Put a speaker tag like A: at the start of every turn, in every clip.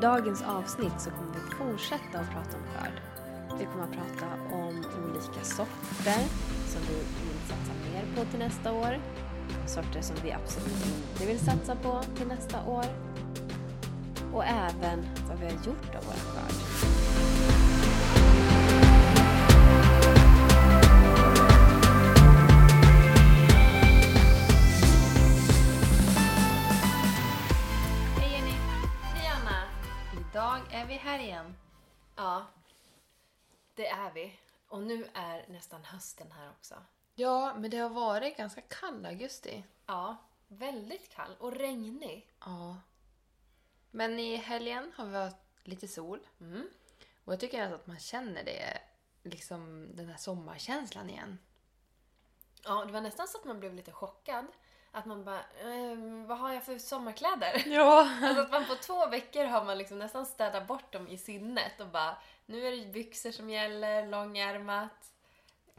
A: dagens avsnitt så kommer vi fortsätta att prata om skörd. Vi kommer att prata om olika sorter som vi vill satsa mer på till nästa år. Sorter som vi absolut inte vill satsa på till nästa år. Och även vad vi har gjort av vår skörd.
B: Hej Jenny!
C: Hej Anna!
B: Idag är vi här igen.
C: Ja, det är vi. Och nu är nästan hösten här också.
B: Ja, men det har varit ganska kall augusti.
C: Ja, väldigt kall och regnig.
B: Ja. Men i helgen har vi haft lite sol.
C: Mm.
B: Och jag tycker alltså att man känner det, liksom den här sommarkänslan igen.
C: Ja, det var nästan så att man blev lite chockad. Att man bara, ehm, vad har jag för sommarkläder?
B: Ja!
C: Alltså att man på två veckor har man liksom nästan städat bort dem i sinnet och bara, nu är det byxor som gäller, långärmat.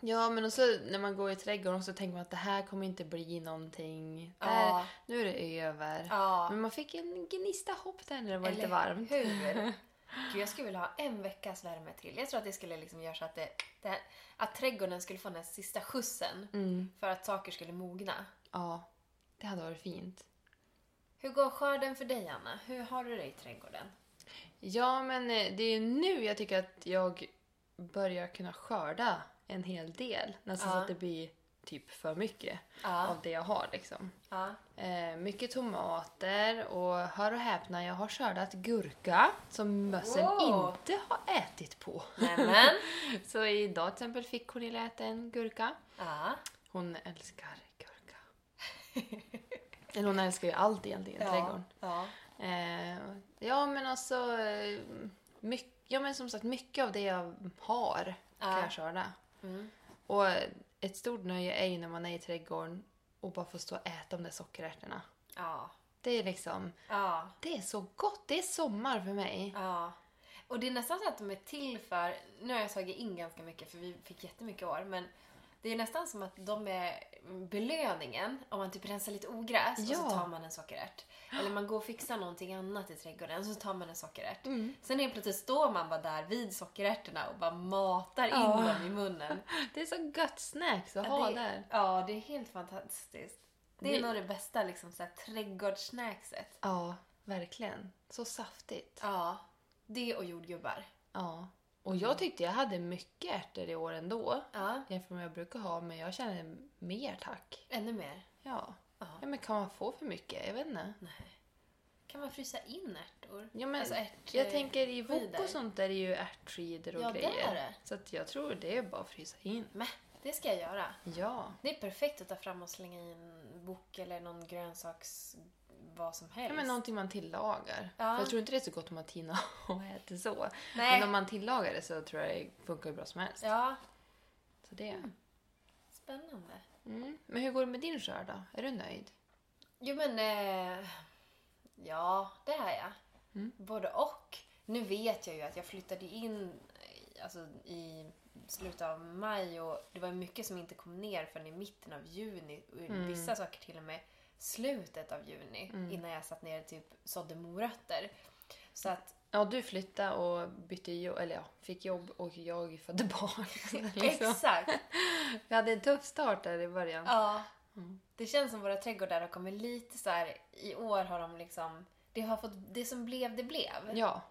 B: Ja, men också när man går i trädgården så tänker man att det här kommer inte bli någonting. Det här-
C: Ja.
B: Nu är det över.
C: Ja,
B: Men man fick en gnista hopp där när det var lite
C: eller
B: varmt. Mm.
C: Hur? Gud, jag skulle vilja ha en veckas värme till. Jag tror att det skulle liksom göra så att, det, det, att trädgården skulle få den här sista skjutsen.
B: Mm,
C: För att saker skulle mogna.
B: ja, det hade varit fint.
C: Hur går skörden för dig, Anna? Hur har du det i trädgården?
B: Ja, men eh, det är ju nu jag tycker att jag börjar kunna skörda en hel del. Nästan så
C: Ja.
B: att det blir typ för mycket
C: Ja.
B: av det jag har. Liksom.
C: ja.
B: Eh, mycket tomater och hör och häpna, jag har skördat gurka som mössen
C: Wow.
B: inte har ätit på.
C: Nämen!
B: Så idag till exempel fick Cornelia äta en gurka.
C: Ja.
B: Hon älskar gurka. Eller hon älskar ju allt egentligen i trädgården.
C: Ja.
B: Eh, ja, men alltså... Eh, myck- ja, men som sagt, mycket av det jag har kan
C: Ja.
B: jag skörda.
C: Mm.
B: Och ett stort nöje är ju när man är i trädgården och bara får stå och äta de där sockerärtorna.
C: Ja.
B: Det är liksom...
C: Ja.
B: Det är så gott! Det är sommar för mig.
C: Ja. Och det är nästan så att de är till för... Nu har jag tagit in ganska mycket för vi fick jättemycket år, men det är nästan som att de är belöningen om man typ rensar lite ogräs och
B: Ja.
C: så tar man en sockerärt. Eller man går och fixar någonting annat i trädgården och så tar man en sockerärt. Sen helt plötsligt står man bara där vid sockerärtorna och bara matar in
B: Ja.
C: dem i munnen.
B: Det är så gött snacks att ha
C: det,
B: där.
C: Ja, det är helt fantastiskt. Det är
B: Det-
C: nog det bästa liksom, så här, trädgårdssnackset.
B: Ja, verkligen. Så saftigt.
C: Ja, det och jordgubbar.
B: Ja. Och jag tyckte jag hade mycket ärtor i år ändå.
C: Ja,
B: Jämfört med vad jag brukar ha, men jag känner mer tack.
C: ännu mer.
B: Ja.
C: Ja.
B: ja. Men kan man få för mycket? Jag vet inte.
C: Nej. Kan man frysa in ärtor?
B: Ja, men
C: Alltså ärt-
B: jag tänker i wok
C: skidor.
B: och sånt där är ju ärtskidor och
C: Ja, det
B: grejer.
C: är det.
B: Så att jag tror det är bara att frysa in.
C: Men, det ska jag göra.
B: Ja.
C: Det är perfekt att ta fram och slänga i en bok eller någon grönsaks... vad som helst.
B: ja men någonting man tillagar.
C: Ja.
B: För jag tror inte det är så gott om man tinar och äter så.
C: Nej.
B: Men om man tillagar det så tror jag det funkar hur bra som helst.
C: Ja,
B: Så det.
C: Mm. spännande.
B: Mm. Men hur går det med din skörd då? Är du nöjd?
C: Jo men... Eh, ja, det är jag.
B: Mm.
C: Både och. Nu vet jag ju att jag flyttade in eh, alltså, i slutet av maj och det var mycket som inte kom ner förrän i mitten av juni. Och
B: Mm.
C: Vissa saker till och med slutet av juni innan jag satt ner och typ sådde morötter. Så att
B: Ja, du flyttade och bytte jobb, eller ja, fick jobb och jag födde barn. liksom.
C: exakt.
B: Vi hade en tuff start där i början.
C: Ja.
B: Mm.
C: Det känns som våra trädgårdar har kommit lite så här. i år har de liksom, det har fått, det som blev det blev.
B: Ja.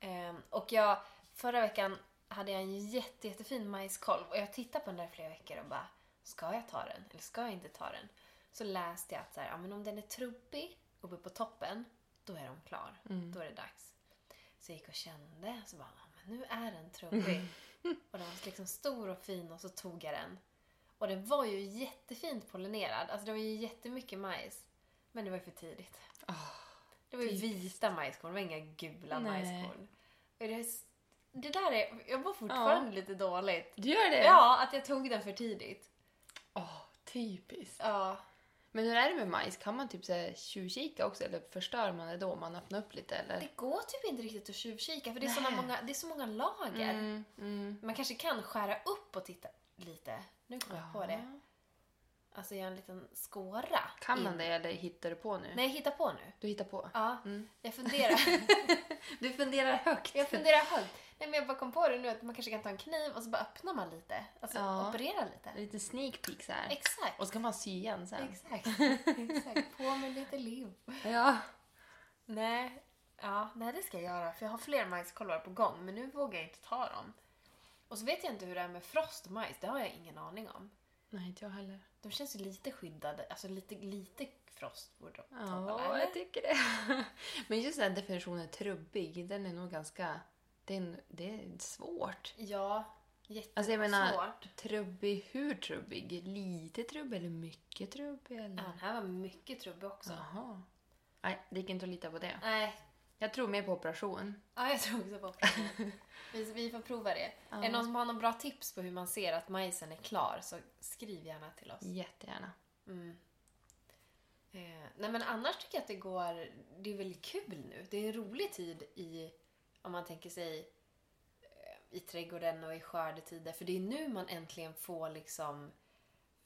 C: Ehm, och jag, förra veckan hade jag en jätte, jättefin majskolv och jag tittade på den där i flera veckor och bara Ska jag ta den eller ska jag inte ta den? Så läste jag att så här, ja, men om den är trubbig uppe på toppen, då är de klar. Då är det dags. Så jag gick och kände, så bara, ja, men nu är den trubbig. och den var liksom stor och fin och så tog jag den. Och den var ju jättefint pollinerad, alltså det var ju jättemycket majs. Men det var ju för tidigt. Det var ju vita majskorn, det var inga gula
B: Typ. Nej.
C: majskorn. Och Det, det där är... Jag mår fortfarande lite dåligt.
B: Du gör det?
C: Ja, att jag tog den för tidigt.
B: Åh, typiskt.
C: Ja.
B: Men hur är det med majs? Kan man typ så här tjuvkika också eller förstör man det då om man öppnar upp lite eller?
C: Det går typ inte riktigt att tjuvkika för det är, såna
B: Nej.
C: många, det är så många lager.
B: Mm, mm.
C: Man kanske kan skära upp och titta lite. Nu kommer jag på det. alltså göra en liten skåra.
B: Kan
C: in.
B: man det eller hittar du på nu?
C: Nej, hitta på nu.
B: Du hittar på?
C: Ja,
B: Mm.
C: jag funderar.
B: Du funderar högt.
C: jag funderar högt. Nej, men jag bara kom på det nu att man kanske kan ta en kniv och så bara öppnar man lite. Alltså
B: Ja.
C: operera lite.
B: Lite sneak peek så här.
C: Exakt.
B: Och så kan man sy igen sen.
C: Exakt. Exakt. På med lite liv.
B: Ja.
C: Nej. Ja, nej det ska jag göra. För jag har fler majskolvar på gång men nu vågar jag inte ta dem. Och så vet jag inte hur det är med frostmajs. Det har jag ingen aning om.
B: Nej, inte jag heller.
C: De känns ju lite skyddade. Alltså lite, lite frost borde de tåla,
B: Ja,
C: eller?
B: jag tycker det. Men just den här definitionen trubbig, den är nog ganska... Det är, en- det är svårt.
C: Ja, jättesvårt.
B: Alltså jag menar, trubbig, hur trubbig? Lite trubbig eller mycket trubbig?
C: Ja,
B: Eller?
C: den här var mycket trubbig också.
B: Jaha. Nej, det gick inte att lita på det.
C: Nej,
B: Jag tror mer på operation.
C: ja, jag tror också på operation. vi, vi får prova det. Är det någon som har några bra tips på hur man ser att majsen är klar så skriv gärna till oss.
B: Jättegärna.
C: Mm. Eh, nej men annars tycker jag att det går, det är väldigt kul nu. Det är en rolig tid i, om man tänker sig eh, i trädgården och i skördetider. För det är nu man äntligen får liksom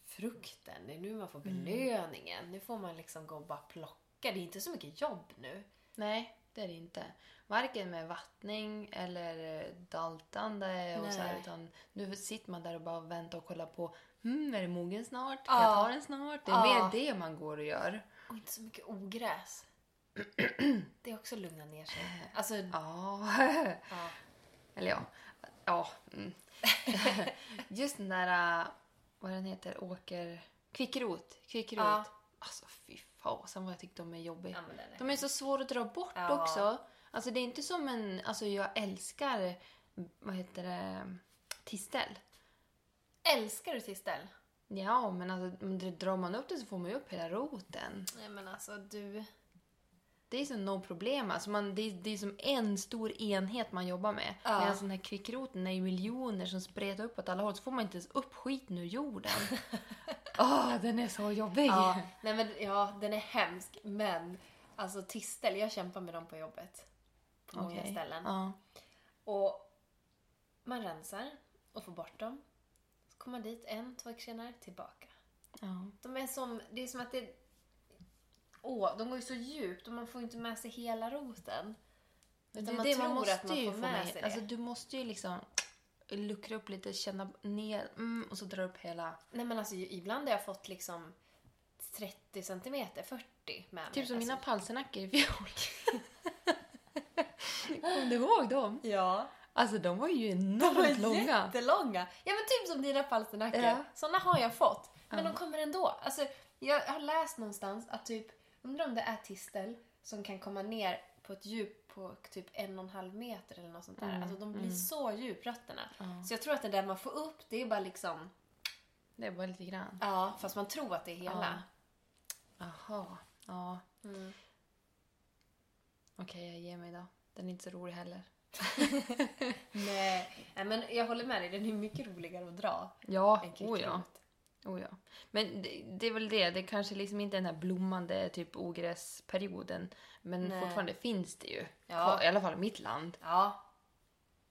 C: frukten. Det är nu man får belöningen. Nu får man liksom gå och bara plocka. Det är inte så mycket jobb nu.
B: Nej, det är det inte. Varken med vattning eller eh, daltande och så här,
C: Nej.
B: utan nu sitter man där och bara väntar och kollar på mm, är det mogen snart? Kan
C: Ja.
B: jag ta den snart? Det är
C: Ja.
B: mer det man går och gör.
C: Och inte så mycket ogräs. Det är också lugna ner sig. Alltså,
B: Ja.
C: ja.
B: Eller ja. Ja. Mm. Just den där, eh, vad den heter, åker... Kvickrot. Kvickrot.
C: Ja.
B: Alltså fy fasen vad jag tyckte de är jobbiga.
C: Ja, men den är-
B: De är så svåra att dra bort
C: Ja.
B: också. Alltså det är inte som en... Alltså jag älskar... Vad heter det? Tistel.
C: Älskar du tistel?
B: Ja, men alltså om det- drar man upp det så får man ju upp hela roten.
C: Nej men alltså du...
B: Det är som no problem. Alltså man, det, är, det är som en stor enhet man jobbar med.
C: Ja.
B: Medan den här kvickroten är ju miljoner som spretar upp åt alla håll. Så får man inte ens upp skiten ur jorden. Åh, den är så jobbig!
C: Ja, nej men, ja, den är hemsk. Men alltså tistel, jag kämpar med dem på jobbet. På många
B: Okej.
C: ställen.
B: Ja.
C: Och man rensar och får bort dem. Så kommer man dit en, två veckor senare, tillbaka.
B: Ja.
C: De är som, det är som att det... Åh, de går ju så djupt och man får inte med sig hela roten.
B: Det
C: Utan
B: är
C: man
B: det
C: tror att man
B: ju
C: får
B: få
C: med sig det.
B: Alltså, du måste ju liksom luckra upp lite, känna ner mm, och så dra upp hela...
C: Nej men alltså ibland har jag fått liksom 30 centimeter, 40 med mig.
B: Typ som
C: alltså,
B: mina palsternackor i fjol. Kom du ihåg dem?
C: Ja.
B: Alltså de var ju
C: De
B: enormt
C: är
B: långa.
C: jättelånga. Ja men typ som dina palsternackor.
B: Ja.
C: Såna har jag fått. Men
B: Ja.
C: de kommer ändå. Alltså, jag har läst någonstans att typ, undrar om det är tistel som kan komma ner på ett djup på typ en och en halv meter eller något sånt där.
B: Mm,
C: Alltså de blir
B: mm.
C: så djup rötterna.
B: Ja.
C: Så jag tror att det där man får upp det är bara liksom,
B: Det var lite grann.
C: ja fast man tror att det är hela.
B: Aha. Ja.
C: Mm.
B: Okej, jag ger mig då. Den är inte så rolig heller.
C: Nej. Nej men jag håller med dig, den är mycket roligare att dra.
B: Ja,
C: än
B: oh ja.
C: kvickrot.
B: Oh ja. Men det, det är väl det, det kanske liksom inte är den här blommande typ ogräsperioden. Men
C: Nej.
B: fortfarande finns det ju.
C: Ja.
B: Kvar, I alla fall i mitt land.
C: Ja.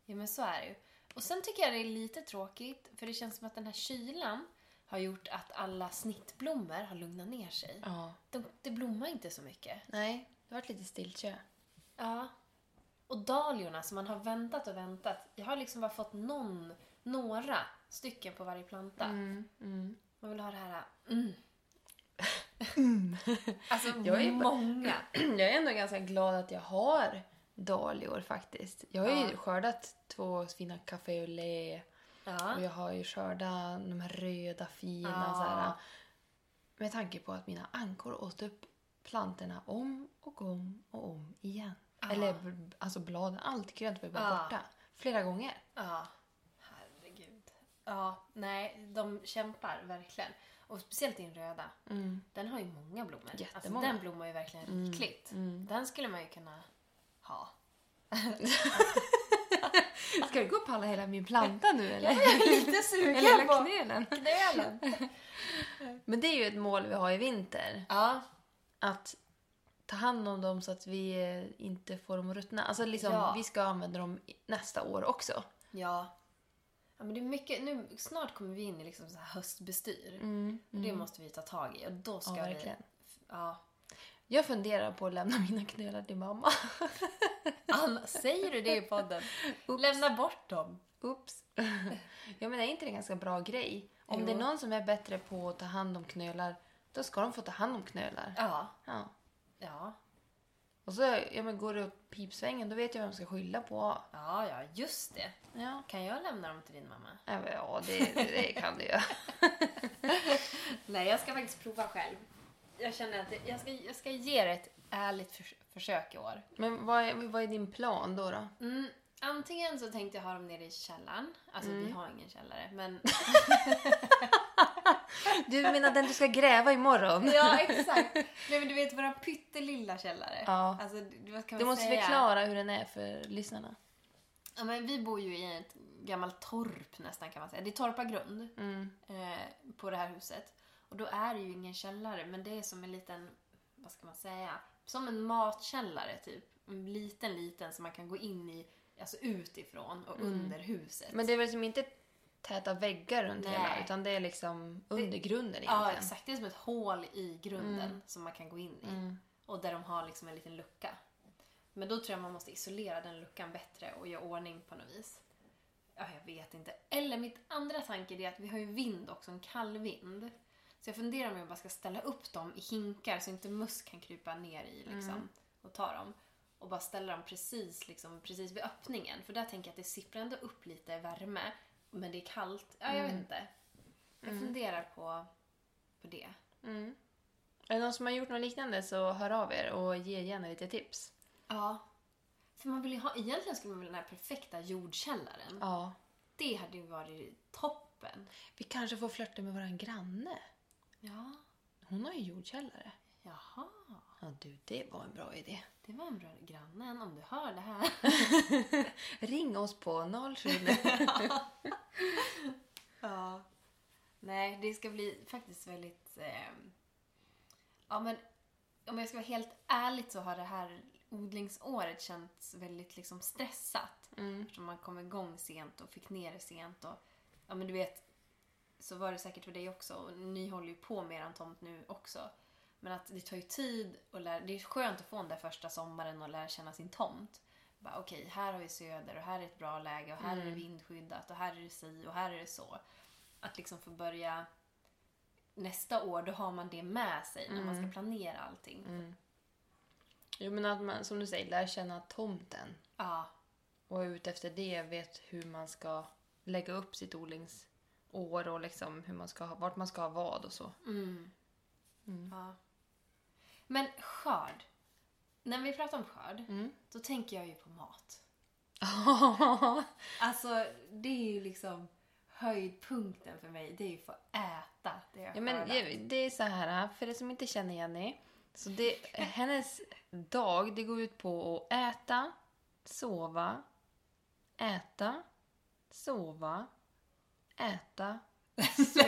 C: Ja men så är det ju. Och sen tycker jag det är lite tråkigt för det känns som att den här kylan har gjort att alla snittblommor har lugnat ner sig.
B: Ja.
C: De, det blommar inte så mycket.
B: Nej, det har varit lite stiltje.
C: Ja. Och dahliorna som man har väntat och väntat. Jag har liksom bara fått någon, några stycken på varje planta.
B: Mm, mm.
C: Man vill ha det här... Mm. alltså
B: Mm. Jag är bara-
C: många.
B: Jag är ändå ganska glad att jag har dahlior faktiskt. Jag har ju
C: Ja.
B: skördat två fina café au lait och
C: Ja.
B: jag har ju skördat de här röda fina
C: Ja.
B: så här, Med tanke på att mina ankor åt upp plantorna om och om och om igen.
C: Ja.
B: Eller b- alltså bladen, allt grönt var ju bara
C: Ja.
B: borta. Flera gånger.
C: Ja, herregud. Ja, nej, de kämpar verkligen. Och speciellt din röda.
B: Mm.
C: Den har ju många blommor.
B: Jättemånga. Mm.
C: Alltså, den blommar ju verkligen rikligt. Den skulle man ju kunna ha.
B: Ska du gå och palla hela min planta nu eller?
C: Lite
B: Eller
C: sugen
B: hela
C: på
B: knölen?
C: knölen.
B: Men det är ju ett mål vi har i vinter.
C: Ja,
B: att ta hand om dem så att vi eh, inte får dem att ruttna. Alltså liksom,
C: Ja.
B: vi ska använda dem i- nästa år också.
C: ja. Ja, men det är mycket, nu, snart kommer vi in i liksom så här höstbestyr.
B: Mm,
C: Och Det
B: mm.
C: måste vi ta tag i och då ska
B: Ja,
C: vi...
B: verkligen.
C: Ja.
B: Jag funderar på att lämna mina knölar till mamma.
C: Anna, säger du det i podden? Lämna bort dem.
B: Oops. Jag menar, är inte det en ganska bra grej? Om
C: Jo.
B: det är någon som är bättre på att ta hand om knölar, då ska de få ta hand om knölar.
C: Ja.
B: Ja.
C: Ja,
B: Och så ja, men går det åt pipsvängen, då vet jag vem jag ska skylla på.
C: ja, ja just det.
B: Ja,
C: Kan jag lämna dem till din mamma?
B: ja, men, ja det, det kan du göra.
C: Nej, jag ska faktiskt prova själv. Jag känner att det- jag ska, jag ska ge det ett ärligt förs- försök i år.
B: Men vad är, vad är din plan då? då?
C: Mm, antingen så tänkte jag ha dem nere i källaren. Alltså
B: Mm.
C: vi har ingen källare, men...
B: Du menar den du ska gräva imorgon?
C: ja, exakt. Nej, men du vet våran pyttelilla källare.
B: Ja.
C: Alltså, d- vad kan
B: Du
C: man
B: måste
C: säga?
B: förklara hur den är för lyssnarna.
C: Ja, men vi bor ju i ett gammalt torp nästan kan man säga. Det är torpagrund
B: Mm.
C: eh, på det här huset. Och då är det ju ingen källare, men det är som en liten, vad ska man säga, som en matkällare typ. En liten, liten som man kan gå in i, alltså utifrån och under huset.
B: Mm. Men det är väl som inte täta väggar runt
C: Nej.
B: hela, utan det är liksom under grunden egentligen.
C: ja, exakt. Det är som ett hål i grunden som man kan gå in i.
B: Mm.
C: Och där de har liksom en liten lucka. Men då tror jag man måste isolera den luckan bättre och göra ordning på något vis. Ja, jag vet inte. Eller mitt andra tanke är att vi har ju vind också, en kall vind. Så jag funderar om jag bara ska ställa upp dem i hinkar så inte möss kan krypa ner i liksom och ta dem. Och bara ställa dem precis, liksom, precis vid öppningen. För där tänker jag att det sipprar ändå upp lite värme. Men det är kallt. Ja, jag vet inte. Jag funderar på, på det.
B: Mm. Är det någon som har gjort något liknande så hör av er och ge gärna lite tips.
C: Ja. För man vill ju ha, egentligen skulle man vilja ha den här perfekta jordkällaren.
B: Ja.
C: Det hade ju varit toppen.
B: Vi kanske får flörta med våran granne.
C: Ja.
B: Hon har ju jordkällare.
C: Jaha.
B: Ja du, det var en bra idé.
C: Det var en bra grannen om du hör det här.
B: Ring oss på 07...
C: Ja. Nej, det ska bli faktiskt väldigt... Eh, ja, men om jag ska vara helt ärlig så har det här odlingsåret känts väldigt liksom stressat.
B: Mm.
C: Eftersom man kom igång sent och fick ner det sent. Och, ja, men du vet, så var det säkert för dig också. Och ni håller ju på med eran tomt nu också. Men att det tar ju tid och lära, det är skönt att få den där första sommaren och lära känna sin tomt. Bara, Okej, här har vi söder och här är ett bra läge och här är det vindskyddat och här är det si och här är det så. Att liksom få börja nästa år, då har man det med sig när man ska planera allting.
B: Jo men att man, som du säger, lär känna tomten.
C: Ja,
B: Och utefter det vet hur man ska lägga upp sitt odlingsår och liksom hur man ska ha, vart man ska ha vad och så.
C: Ja. Men skörd. När vi pratar om skörd, då tänker jag ju på mat. Alltså, det är ju liksom höjdpunkten för mig. Det är ju att få äta det jag
B: Ja, men
C: skördat.
B: det- det är så här, äh, för er som inte känner Jenny. Så det, hennes dag det går ut på att äta, sova, äta, sova, äta, sova.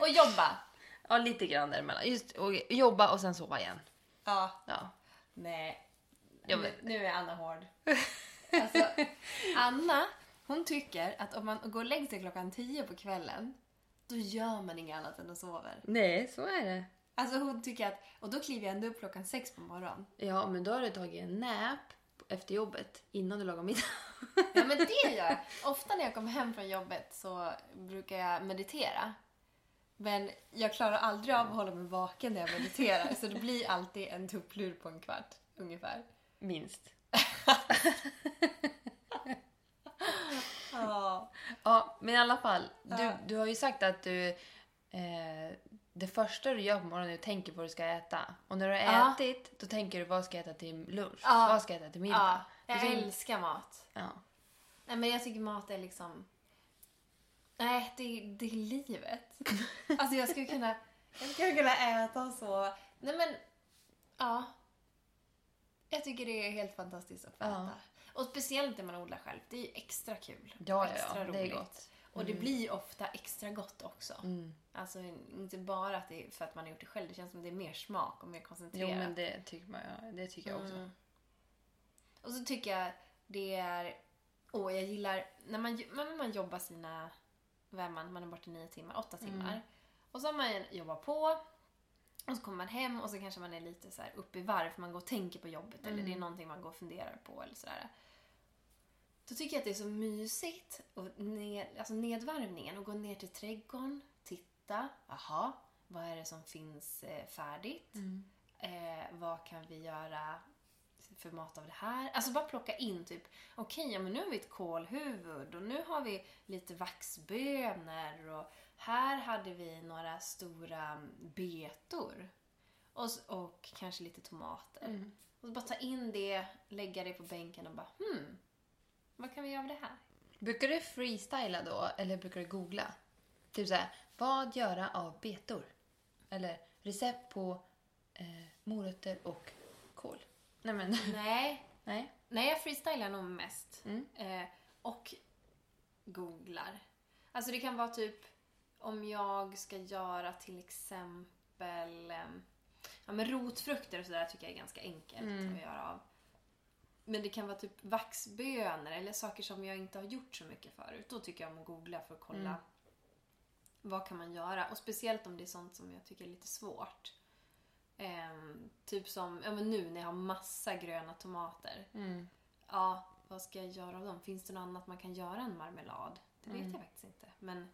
C: Och jobba!
B: ja, lite grann däremellan. Just och jobba och sen sova igen.
C: Ja.
B: Ja.
C: Nej.
B: Ja,
C: Nu,
B: men-
C: nu är Anna hård. Alltså, Anna, hon tycker att om man går och lägger sig klockan tio på kvällen, då gör man inget annat än att sover.
B: Nej, så är det.
C: Alltså hon tycker att, och då kliver jag ändå upp klockan sex på morgonen.
B: Ja, men då har du tagit en nap efter jobbet innan du lagar middag.
C: Ja men det gör jag. Ofta när jag kommer hem från jobbet så brukar jag meditera. Men jag klarar aldrig av att hålla mig vaken när jag mediterar så det blir alltid en tupplur på en kvart ungefär.
B: Minst.
C: Ja.
B: Ja, men i alla fall. Du,
C: Ja.
B: du har ju sagt att du... Eh, det första du gör på morgonen är att tänka på vad du ska äta. Och när du har
C: Ja.
B: ätit, då tänker du vad ska jag äta till lunch?
C: Ja.
B: Vad ska jag äta till middag?
C: ja. Jag
B: Det är-
C: älskar mat.
B: Ja.
C: Nej men jag tycker mat är liksom... Nej, det, det är livet. Alltså jag skulle kunna, jag skulle kunna äta och så. Nej men, ja. Jag tycker det är helt fantastiskt att få
B: Ja.
C: äta. Och speciellt när man odlar själv, det är ju extra kul.
B: Ja,
C: och
B: ja,
C: extra
B: ja, det är gott.
C: Och det blir ofta extra gott också.
B: Mm.
C: Alltså inte bara att det är för att man har gjort det själv, det känns som det är mer smak och mer koncentrerat.
B: Jo, men det tycker, man, ja, det tycker jag också.
C: Mm. Och så tycker jag det är Och jag gillar när man, ju- när man jobbar sina, vad är man, man är borta nio timmar, åtta timmar. Och så har man jobbat på och så kommer man hem och så kanske man är lite så här uppe i varv för man går och tänker på jobbet eller det är någonting man går och funderar på eller sådär. Då tycker jag att det är så mysigt, och ned, alltså nedvarvningen, och gå ner till trädgården, titta, aha, vad är det som finns eh, färdigt? Eh, vad kan vi göra för mat av det här? Alltså bara plocka in typ, okej, ja, men nu har vi ett kålhuvud och nu har vi lite vaxbönor och här hade vi några stora betor. Och, s- och kanske lite tomater. Och så bara ta in det, lägga det på bänken och bara hmm, vad kan vi göra av det här?
B: Brukar du freestyla då, eller brukar du googla? Typ såhär, vad göra av betor? Eller recept på eh, morötter och kål. Nej men,
C: Nej,
B: nej.
C: nej jag freestylar nog mest.
B: Mm.
C: Eh, och googlar. Alltså det kan vara typ om jag ska göra till exempel ehm, ja, men rotfrukter och sådär tycker jag är ganska enkelt
B: Mm.
C: att göra av. Men det kan vara typ vaxbönor eller saker som jag inte har gjort så mycket förut. Då tycker jag om att googla för att kolla
B: Mm.
C: vad kan man göra. Och speciellt om det är sånt som jag tycker är lite svårt. Ehm, typ som ja, men nu när jag har massa gröna tomater.
B: Mm.
C: Ja, vad ska jag göra av dem? Finns det något annat man kan göra än marmelad? Det vet jag faktiskt inte. Men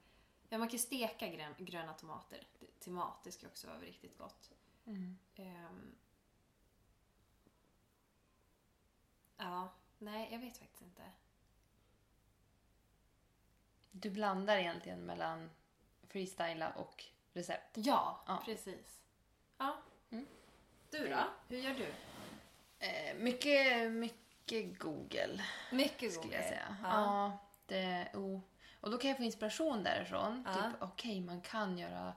C: ja, man kan ju steka grön, gröna tomater Det- till mat. Det ska också vara riktigt gott.
B: Mm.
C: Ehm. ja, nej, jag vet faktiskt inte.
B: Du blandar egentligen mellan freestyla och recept.
C: Ja,
B: Ja.
C: precis. Ja.
B: Mm.
C: Du då? Hur gör du?
B: Eh, mycket, mycket Google.
C: Mycket
B: skulle jag säga. Ja.
C: Ja.
B: det, oh. Och då kan jag få inspiration därifrån.
C: Ja.
B: Typ, okej, man kan göra,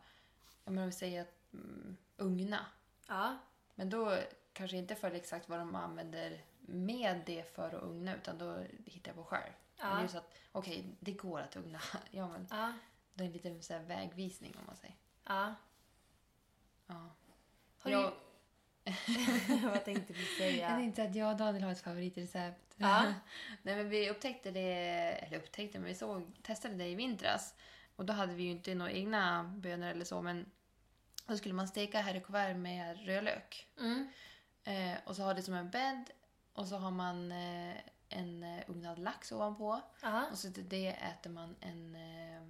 B: om jag vill säga mm, ugna.
C: ja.
B: Men då kanske inte följer exakt vad de använder med det för att ugna, utan då hittar jag på själv.
C: Ja.
B: Men det är så att, okej, det går att ugna. ja, men
C: ja.
B: det är en liten så här, vägvisning om man säger.
C: ja.
B: Ja.
C: Har
B: Jag-
C: du... vad tänkte du
B: Jag
C: säga?
B: tänkte att jag och Daniel har ett favoritrecept.
C: Ja.
B: Nej, men vi upptäckte det, eller upptäckte, men vi såg, testade det i vintras. Och då hade vi ju inte några egna bönor eller så, men då skulle man steka här i kuvert med rödlök.
C: Mm.
B: Eh, och så har det som en bädd och så har man eh, en eh, ugnad lax ovanpå.
C: Ja.
B: Och så till Alltså, det äter man en eh,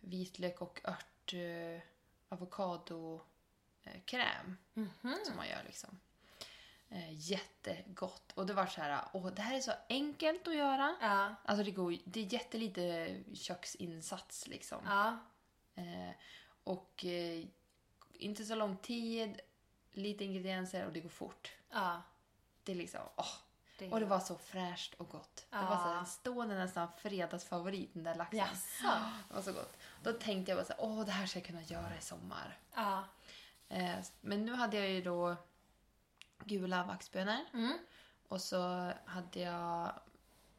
B: vitlök och ört eh, avokadokräm. Eh, kräm
C: Mhm. Mm.
B: som man gör liksom. Eh, jättegott. Och det var så här, åh, det här är så enkelt att göra.
C: Ja.
B: Alltså det, går, det är jättelite köksinsats liksom.
C: Ja.
B: Eh, och eh, inte så lång tid, lite ingredienser och det går fort.
C: Ja.
B: Det är liksom, åh.
C: Det-
B: Och det var så fräscht och gott. Det
C: Ja.
B: var så här, stående nästan fredagsfavorit, den där laxen.
C: Jaså?
B: Det var så gott. Då tänkte jag bara så här, åh det här ska jag kunna göra i sommar.
C: Ja.
B: Eh, men nu hade jag ju då gula vaxbönor.
C: Mm.
B: Och så hade jag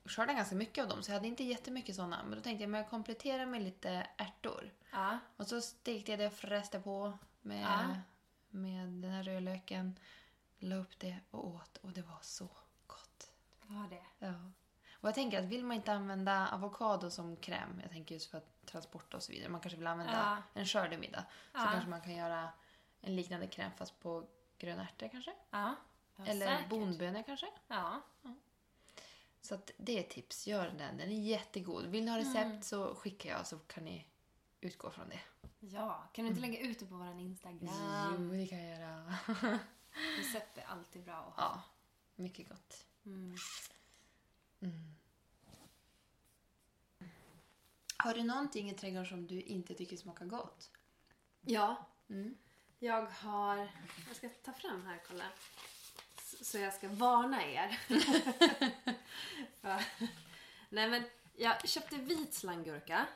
B: skördat ganska mycket av dem, så jag hade inte jättemycket sådana. Men då tänkte jag men jag kompletterar med lite ärtor.
C: Ja.
B: Och så stekte jag det och fräste på med,
C: Ja.
B: med den här rödlöken. La upp det och åt och det var så gott.
C: Vad var det?
B: Ja. Och jag tänker att vill man inte använda avokado som kräm, jag tänker just för att transport och så vidare, man kanske vill använda
C: Ja.
B: en skördemiddag, så
C: Ja.
B: kanske man kan göra en liknande kräm fast på gröna ärtor kanske?
C: Ja. ja
B: Eller
C: säkert.
B: bondbönor kanske?
C: Ja.
B: Så att det är ett tips, gör den. Den är jättegod. Vill ni ha recept
C: Mm.
B: så skickar jag så kan ni utgå från det.
C: Ja. Kan du inte lägga ut det på våran Instagram?
B: Jo, det kan jag göra.
C: Recept är alltid bra att ha.
B: ja, mycket gott. Mm.
C: Mm.
B: Har du någonting i trädgården som du inte tycker smakar gott?
C: Ja.
B: Mm.
C: Jag har... Jag ska ta fram här kolla. S- Så jag ska varna er. För- Nej men, jag köpte vit slanggurka.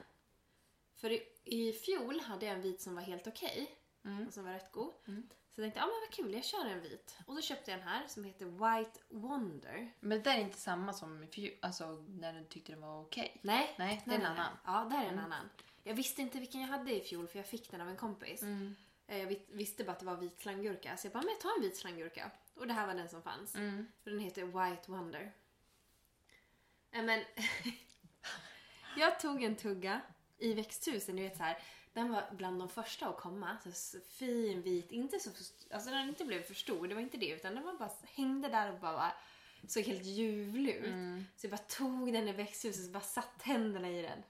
C: För i, i fjol hade jag en vit som var helt okej.
B: Mm.
C: Och som var rätt god.
B: Mm.
C: Så jag tänkte, ja men vad kul, jag kör en vit. Och då köpte jag en här som heter White Wonder.
B: Men det där är inte samma som i fjol, alltså när du tyckte den var okej.
C: Nej,
B: Nej, det är en annan. Mm.
C: Ja, där är en annan. Jag visste inte vilken jag hade i fjol för jag fick den av en kompis.
B: Mm.
C: Eh, Jag vis- visste bara att det var vit slanggurka. Så jag bara, men jag tar en vit slanggurka. Och det här var den som fanns.
B: Mm.
C: Och Den heter White Wonder. Eh, Nej, men jag tog en tugga i växthusen, du vet så här. Den var bland de första att komma. Så s- fin, vit, inte så... först- Alltså den inte blev för stor, det var inte det. Utan den var bara, hängde där och bara såg helt ljuvlig ut. Så jag bara tog den i växthuset och bara satt händerna i den.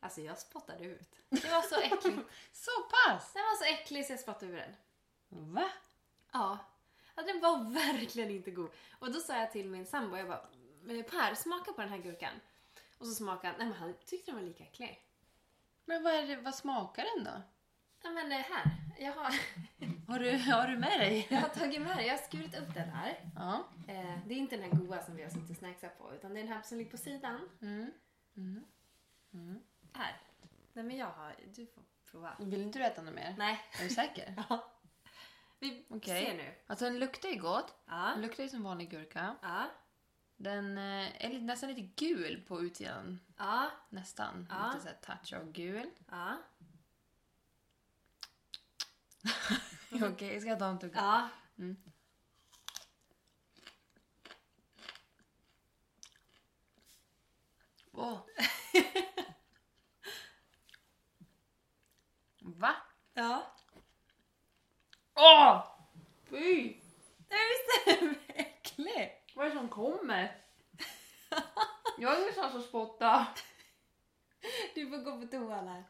C: Alltså jag spottade ut. Det var så äckligt.
B: Så pass?
C: Den var så äcklig så jag spottade ur den.
B: Va?
C: Ja. ja, den var verkligen inte god. Och då sa jag till min sambo, jag bara "Men Per, smaka på den här gurkan. Och så smakade han, nej men han tyckte den var lika äcklig.
B: Men vad, är det, vad smakar den då?
C: Ja men eh, här, jag har,
B: Har du, har du med dig?
C: jag har tagit med jag har skurit upp den här.
B: Ja.
C: Eh, det är inte den här goda som vi har suttit och snacksat på, utan det är den här som ligger på sidan.
B: Mm.
C: Här. Nej men jag har, du får prova.
B: Vill inte du äta något mer?
C: Nej.
B: Är du säker?
C: Ja. Vi
B: Okej.
C: ser nu.
B: Alltså den luktar ju gott. Den
C: Ja.
B: luktar ju som vanlig gurka.
C: Ja.
B: Den eh, är lite- nästan lite gul på utsidan.
C: Ja.
B: Nästan.
C: Ja.
B: Lite så här touch av gul.
C: Ja.
B: Okej, ska jag ta en tugga?
C: Ja.
B: Åh. Va?
C: Ja.
B: Åh! Fy!
C: Nej visst är den äcklig?
B: Vad är det som kommer? Jag är nästan så spotta.
C: Du får gå på toan här.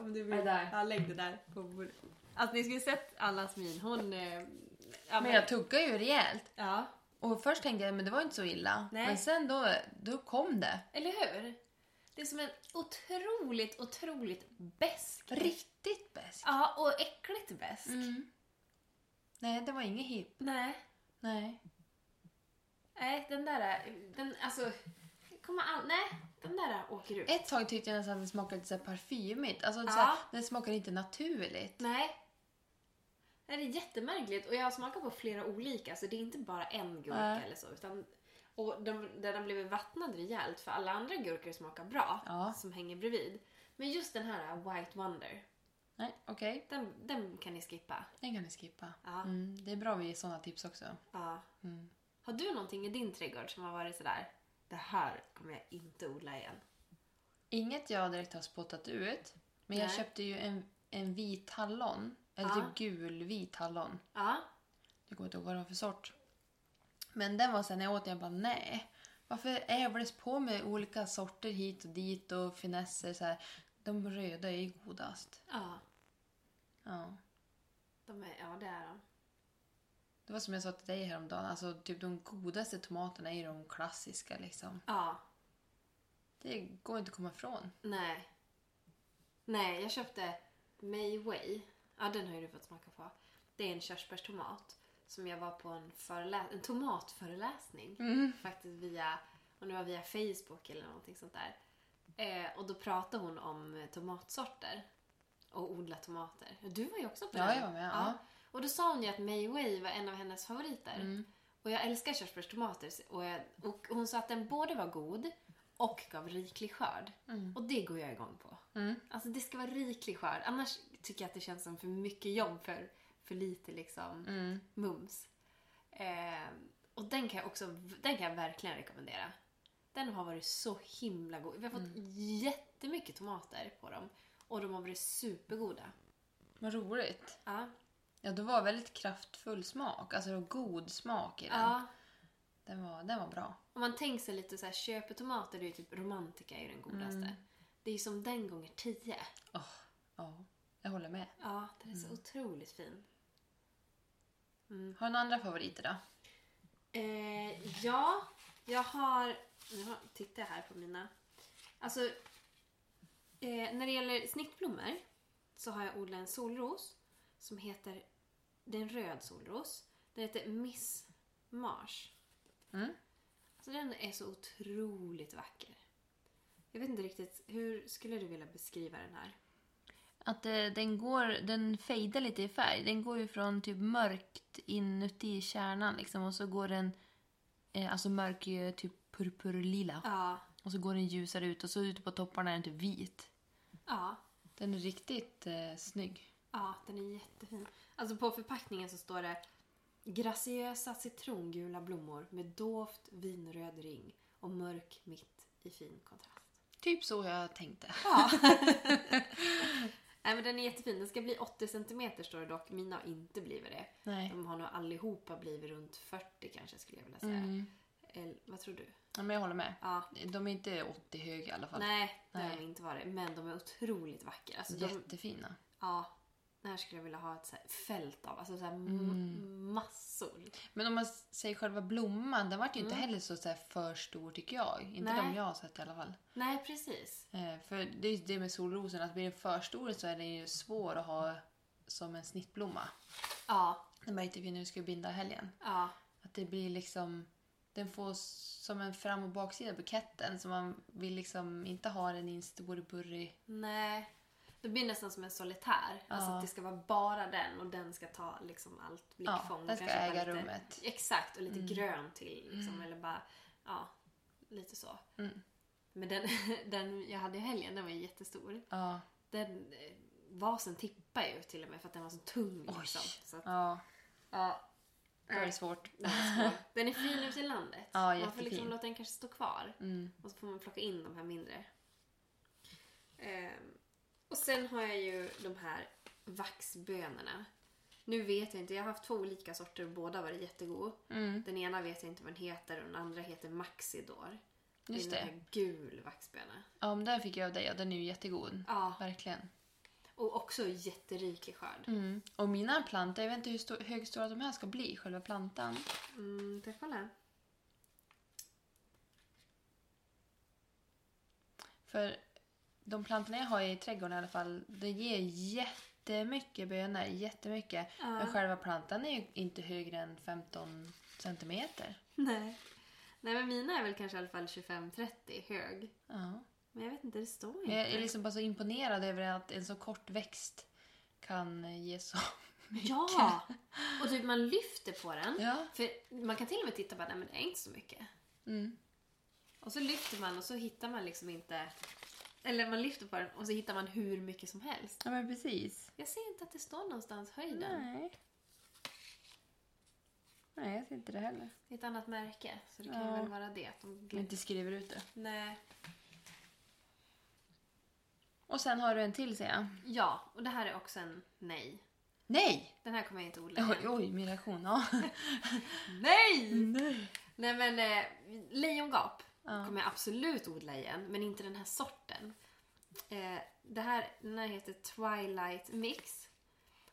C: Om du vill.
B: Ja, där.
C: Ja, lägg det där på bordet. Alltså ni skulle sett Allas min. Hon... Eh, ja,
B: Men jag tuggar ju rejält.
C: ja.
B: Och först tänkte jag men det var inte så illa.
C: Nej.
B: Men sen då, då kom det.
C: Eller hur? Det är som en otroligt, otroligt besk.
B: Riktigt bäst.
C: Ja, och äckligt besk.
B: Mm. Nej, det var inget hipp.
C: Nej.
B: Nej.
C: Nej, den där... eh, Den, alltså... Kommer all... Nej, den där åker ut.
B: Ett tag tyckte jag nästan att det smakade lite så här parfymigt. Alltså
C: Ja.
B: så här, det smakade inte naturligt.
C: Nej. Nej, det är jättemärkligt. Och jag har smakat på flera olika, så det är inte bara en gurka
B: Nej.
C: eller så. Utan, och de, där den blev vattnad rejält, för alla andra gurkor smakar bra,
B: Ja.
C: som hänger bredvid. Men just den här äh, White Wonder,
B: Nej, okej.
C: den, den kan ni skippa.
B: Den kan ni skippa.
C: Ja.
B: Mm, det är bra med sådana tips också.
C: Ja.
B: Mm.
C: Har du någonting i din trädgård som har varit sådär, det här kommer jag inte odla igen?
B: Inget jag direkt har spottat ut. Men jag
C: Nej.
B: köpte ju en, en vit hallon. Eller
C: Ja.
B: typ gul-vit hallon.
C: Ja,
B: Jag kommer inte ihåg vad det var för sort. Men den var sen när jag åt den, jag bara nej. Varför ävles på med olika sorter hit och dit och finesser så här. De röda är ju godast.
C: ja,
B: Ja.
C: de är, ja det är de.
B: Det var som jag sa till dig häromdagen, alltså typ de godaste tomaterna är ju de klassiska liksom.
C: Ja,
B: Det går inte att komma ifrån.
C: Nej. Nej, jag köpte Mei Wei. Ja, den har ju du fått smaka på. Det är en körsbärstomat som jag var på en, förelä- en tomatföreläsning. Faktiskt via, om det var via Facebook eller någonting sånt där. Eh, och då pratade hon om eh, tomatsorter och odla tomater. Du var ju också på
B: Ja,
C: den.
B: jag var med, ja.
C: Och då sa hon ju att Mei Wei var en av hennes favoriter.
B: Mm.
C: Och jag älskar körsbärstomater. Och, jag, och hon sa att den både var god och gav riklig skörd. Och det går jag igång på.
B: Mm.
C: Alltså det ska vara riklig skörd. Annars tycker jag att det känns som för mycket jobb för, för lite liksom
B: Mm.
C: mums. Eh, och den kan jag också, den kan jag verkligen rekommendera. Den har varit så himla god. Vi har fått
B: Mm.
C: jättemycket tomater på dem. Och de har varit supergoda.
B: Vad roligt.
C: Ja.
B: Ja, det var väldigt kraftfull smak, alltså det var god smak i den.
C: ja.
B: Den, var, den var bra.
C: Om man tänker sig lite så här, köper tomater, det är ju typ romantika är ju den godaste. Det är ju som den gånger tio.
B: Åh, ja, jag håller med.
C: Ja, den är så otroligt fin.
B: Har du några andra favoriter då?
C: Eh, ja, jag har... Nu har- tittar jag här på mina. Alltså, eh, när det gäller snittblommor så har jag odlat en solros som heter... Det är en röd solros. Den heter Miss Mars.
B: Mm.
C: Alltså den är så otroligt vacker. Jag vet inte riktigt, hur skulle du vilja beskriva den här?
B: Att eh, den går, den fejdar lite i färg. Den går ju från typ mörkt inuti kärnan liksom och så går den, eh, alltså mörk är ju typ purpurlila.
C: Ja,
B: Och så går den ljusare ut och så ute på topparna är den typ vit.
C: ja,
B: Den är riktigt eh, snygg.
C: ja, den är jättefin. Alltså på förpackningen så står det Graciösa citrongula blommor med dovt vinröd ring och och mörk mitt i fin kontrast.
B: Typ så jag tänkte.
C: Ja. Nej men den är jättefin. Den ska bli 80 cm står det dock. Mina har inte blivit det.
B: Nej.
C: De har nog allihopa blivit runt 40 kanske skulle jag vilja säga.
B: Mm.
C: Eller, vad tror du?
B: Ja, men jag håller med.
C: Ja.
B: De är inte 80 höga i alla fall.
C: Nej, det har
B: Nej.
C: de inte varit. Men de är otroligt vackra. Alltså, de,
B: Jättefina.
C: ja, den här skulle jag vilja ha ett så här fält av. Alltså så här m- Mm. massor.
B: Men om man s- säger själva blomman, den vart ju inte heller så, så här för stor tycker jag. Inte
C: Nej.
B: de jag har sett i alla fall.
C: Nej, precis.
B: Eh, för det är ju det med solrosen, att blir den för stor så är den ju svår att ha som en snittblomma.
C: Ja,
B: När man inte vet hur du ska binda helgen.
C: ja.
B: Att det blir liksom... Den får s- som en fram och baksida av buketten så man vill liksom inte ha den i en stor burrig...
C: Nej. Det blir nästan som en solitär. Alltså
B: Ja.
C: att det ska vara bara den och den ska ta liksom allt blickfång.
B: Ja,
C: och
B: den ska
C: kanske ha
B: äga
C: lite,
B: rummet. Mm.
C: Exakt, och lite grön till liksom. Eller bara, ja, lite så.
B: Mm.
C: Men den, den jag hade i helgen, den var ju jättestor.
B: Ja.
C: Den eh, vasen tippade ju till och med för att den var så tung
B: Oj.
C: liksom. Så att,
B: Ja,
C: ja.
B: då är det svårt.
C: den är svår. Den är fin ute i landet.
B: Ja,
C: man får
B: jättefin.
C: liksom låta den kanske stå kvar.
B: Mm.
C: Och så får man plocka in de här mindre. Ehm, och sen har jag ju de här vaxbönorna. Nu vet jag inte, jag har haft två olika sorter och båda var jättegod.
B: Mm.
C: Den ena vet jag inte vad den heter och den andra heter Maxidor.
B: Just
C: är en
B: det.
C: här gul vaxböna.
B: Ja, men den fick jag av dig. Ja, den är ju jättegod.
C: Ja,
B: Verkligen.
C: och också jätteriklig skörd.
B: Mm. Och mina plantor, jag vet inte hur stor, högstora de här ska bli, själva plantan.
C: Mm, ska jag kolla?
B: För de plantorna jag har i trädgården i alla fall, det ger jättemycket bönor, jättemycket.
C: Ja.
B: Men själva plantan är ju inte högre än 15 centimeter.
C: Nej. Nej men mina är väl kanske i alla fall 25-30 hög.
B: Ja.
C: Men jag vet inte, det står
B: Men
C: inte.
B: jag är liksom bara så imponerad över att en så kort växt kan ge så mycket.
C: Ja! Och typ man lyfter på den.
B: Ja.
C: För man kan till och med titta på den, men det är inte så mycket.
B: Mm.
C: Och så lyfter man och så hittar man liksom inte... Eller man lyfter på den och så hittar man hur mycket som helst.
B: ja, men precis.
C: Jag ser inte att det står någonstans höjden.
B: Nej. Nej, jag ser inte det heller.
C: Det är ett annat märke, så det kan
B: Ja.
C: ju väl vara det. Att de
B: Jag inte skriver ut det.
C: Nej.
B: Och sen har du en till säger jag.
C: Ja, och det här är också en nej.
B: Nej!
C: Den här kommer jag inte odla
B: Oj,
C: igen.
B: oj min reaktion. Ja.
C: Nej!
B: Nej.
C: Nej men eh, lejongap
B: Ja.
C: kommer jag absolut odla igen, men inte den här sorten. Eh, det här, den här heter Twilight Mix.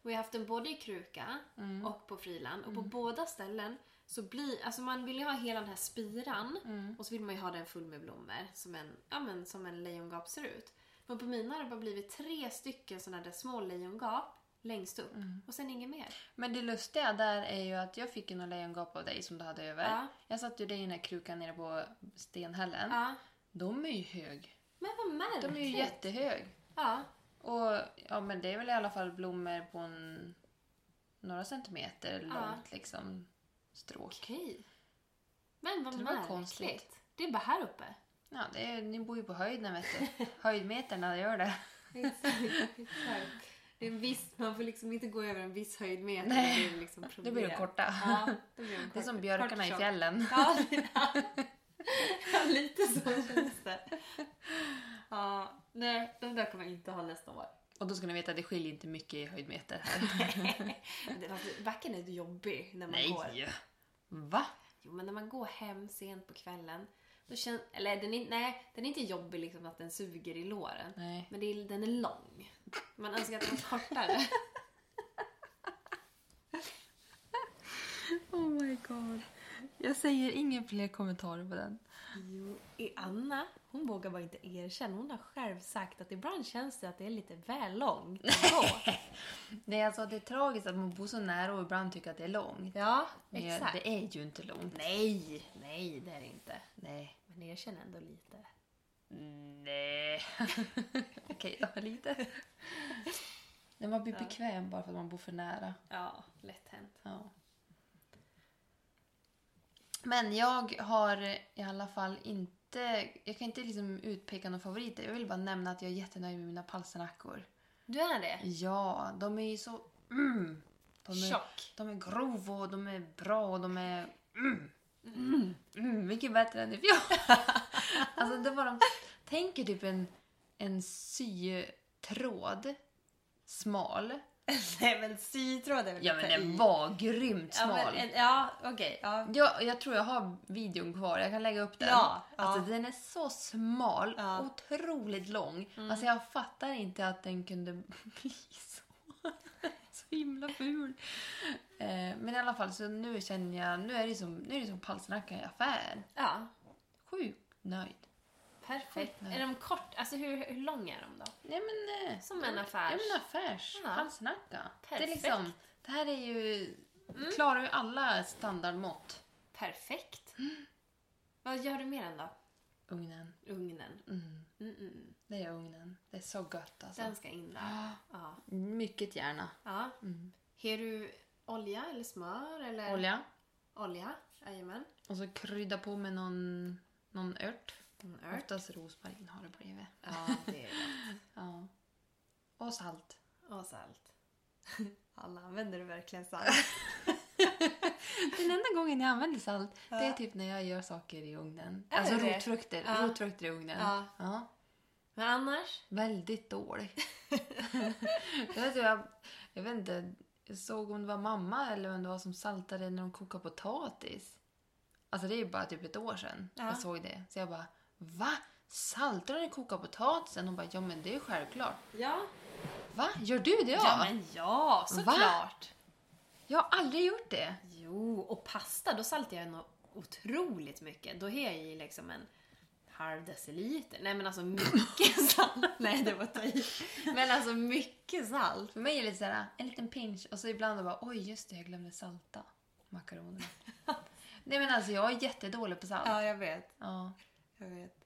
C: Och jag har haft den både i kruka
B: Mm.
C: och på friland. Och på båda ställen så blir, alltså man vill ju ha hela den här spiran
B: Mm.
C: och så vill man ju ha den full med blommor som en, ja, men, som en lejongap ser ut. Men på mina har det bara blivit tre stycken sådana där små lejongap längst upp
B: Mm.
C: och sen inget mer.
B: Men det lustiga där är ju att jag fick ju någon lejongap av dig som du hade över.
C: Ja.
B: Jag satte ju dig i den här krukan nere på stenhällen.
C: Ja.
B: De är ju hög.
C: Men vad
B: De
C: märkligt!
B: är ju jättehög.
C: Ja.
B: Och ja, men det är väl i alla fall blommor på en, några centimeter
C: Ja.
B: långt liksom stråk.
C: Okej. Men vad
B: Det var
C: märkligt.
B: konstigt.
C: Det är bara här uppe.
B: Ja, det är, ni bor ju på höjden vet du. Höjdmeterna gör det.
C: det är en viss, man får liksom inte gå över en viss höjdmeter.
B: Nej.
C: Det blir liksom problem.
B: Då blir de korta.
C: Ja, då blir de
B: Det är som
C: korta.
B: björkarna i
C: Kort
B: fjällen.
C: Ja, ja, lite så känns det. Ja, nej, de där kommer jag inte ha nästa år.
B: Och då ska ni veta att det skiljer inte mycket i höjdmeter här.
C: Det- fast Backen är ju jobbig när man går.
B: Nej! Va?
C: Jo, men när man går hem sent på kvällen. Då känns, eller den är, nej, den är inte jobbig liksom att den suger i låren.
B: Nej.
C: Men det är, den är lång. Man önskar att den var kortare.
B: Oh my god. Jag säger inga fler kommentarer på den.
C: Jo, i Anna, hon vågar bara inte erkänna. Hon har själv sagt att ibland känns det att det är lite väl långt att gå.
B: Nej, alltså det är tragiskt att man bor så nära och ibland tycker att det är långt.
C: Ja,
B: Men jag-
C: exakt.
B: det är ju inte långt.
C: Nej, nej det är det inte.
B: Nej.
C: Men erkänn ändå lite.
B: Nej. Okej då, lite. När man blir bekväm bara för att man bor för nära.
C: Ja, lätt hänt.
B: Ja. Men jag har i alla fall inte... Jag kan inte liksom utpeka någon favorit. Jag vill bara nämna att jag är jättenöjd med mina palsternackor.
C: Du är det?
B: Ja, de är ju så... Mm, de, är,
C: Tjock.
B: de är grova och de är bra och de är... Mm, Mm, mm, mycket bättre än i fjol. alltså, det var de, tänker typ en, en sytråd, smal.
C: Nej men sytråd är väl
B: Ja
C: att ta
B: men den
C: i.
B: var grymt
C: Ja,
B: smal.
C: men en- Ja, okej. ja.
B: Ja, jag tror jag har videon kvar. Jag kan lägga upp den.
C: Ja,
B: Alltså,
C: ja.
B: Den är så smal.
C: Ja. Mm.
B: Otroligt lång. Alltså, jag fattar inte att den kunde bli så. så himla ful. Eh, men i alla fall, så nu känner jag... Nu är det som, nu är det som palsternacka i affär.
C: ja.
B: Sjukt nöjd.
C: Perfekt. Är de kort? Alltså hur, hur lång är de då?
B: Nej, men, eh,
C: Som en
B: Ja,
C: affärs...
B: men affärs.
C: Ja.
B: Palsternacka. Det, är
C: Perfekt. Mm.
B: liksom, det här är ju... klarar ju alla standardmått.
C: Perfekt. Vad gör du med den då?
B: Ugnen.
C: Ugnen.
B: Mm.
C: Mm, mm, mm.
B: Det är ugnen. Det är så gött alltså.
C: Den ska in där.
B: Ja,
C: Ja.
B: mycket gärna.
C: ja.
B: Mm.
C: Har du olja eller smör? Eller?
B: Olja.
C: Olja. Jajamän.
B: Och så krydda på med någon, någon ört.
C: En ört.
B: Oftast rosmarin har det blivit.
C: Mm. Ja, det är gott.
B: Ja. Och salt.
C: Och salt. Alla använder du verkligen salt.
B: Den enda gången jag använder salt,
C: Ja.
B: det är typ när jag gör saker i ugnen.
C: Är
B: alltså
C: det det?
B: rotfrukter,
C: Ja.
B: rotfrukter i ugnen.
C: Ja.
B: Ja.
C: Men annars?
B: Väldigt dålig. jag, vet, inte, jag, jag vet inte, jag såg om det var mamma eller vem det var som saltade när de kokade potatis. Alltså det är ju bara typ ett år sedan
C: Ja.
B: jag såg det. Så jag bara, va? Saltar de när de kokar potatisen? Hon bara, ja men det är ju självklart.
C: Ja.
B: Va? Gör du det?
C: Ja, men ja, såklart.
B: Jag har aldrig gjort det.
C: Jo, och pasta, då saltar jag nog otroligt mycket. Då har jag i liksom en halv deciliter. Nej men alltså mycket salt. Nej det var att ta i. Men alltså mycket salt.
B: För mig är det lite såhär, en liten pinch och så ibland då bara, oj just det, jag glömde salta makaronerna. Nej men alltså jag är jättedålig på salt.
C: jag vet.
B: Ja.
C: Jag vet.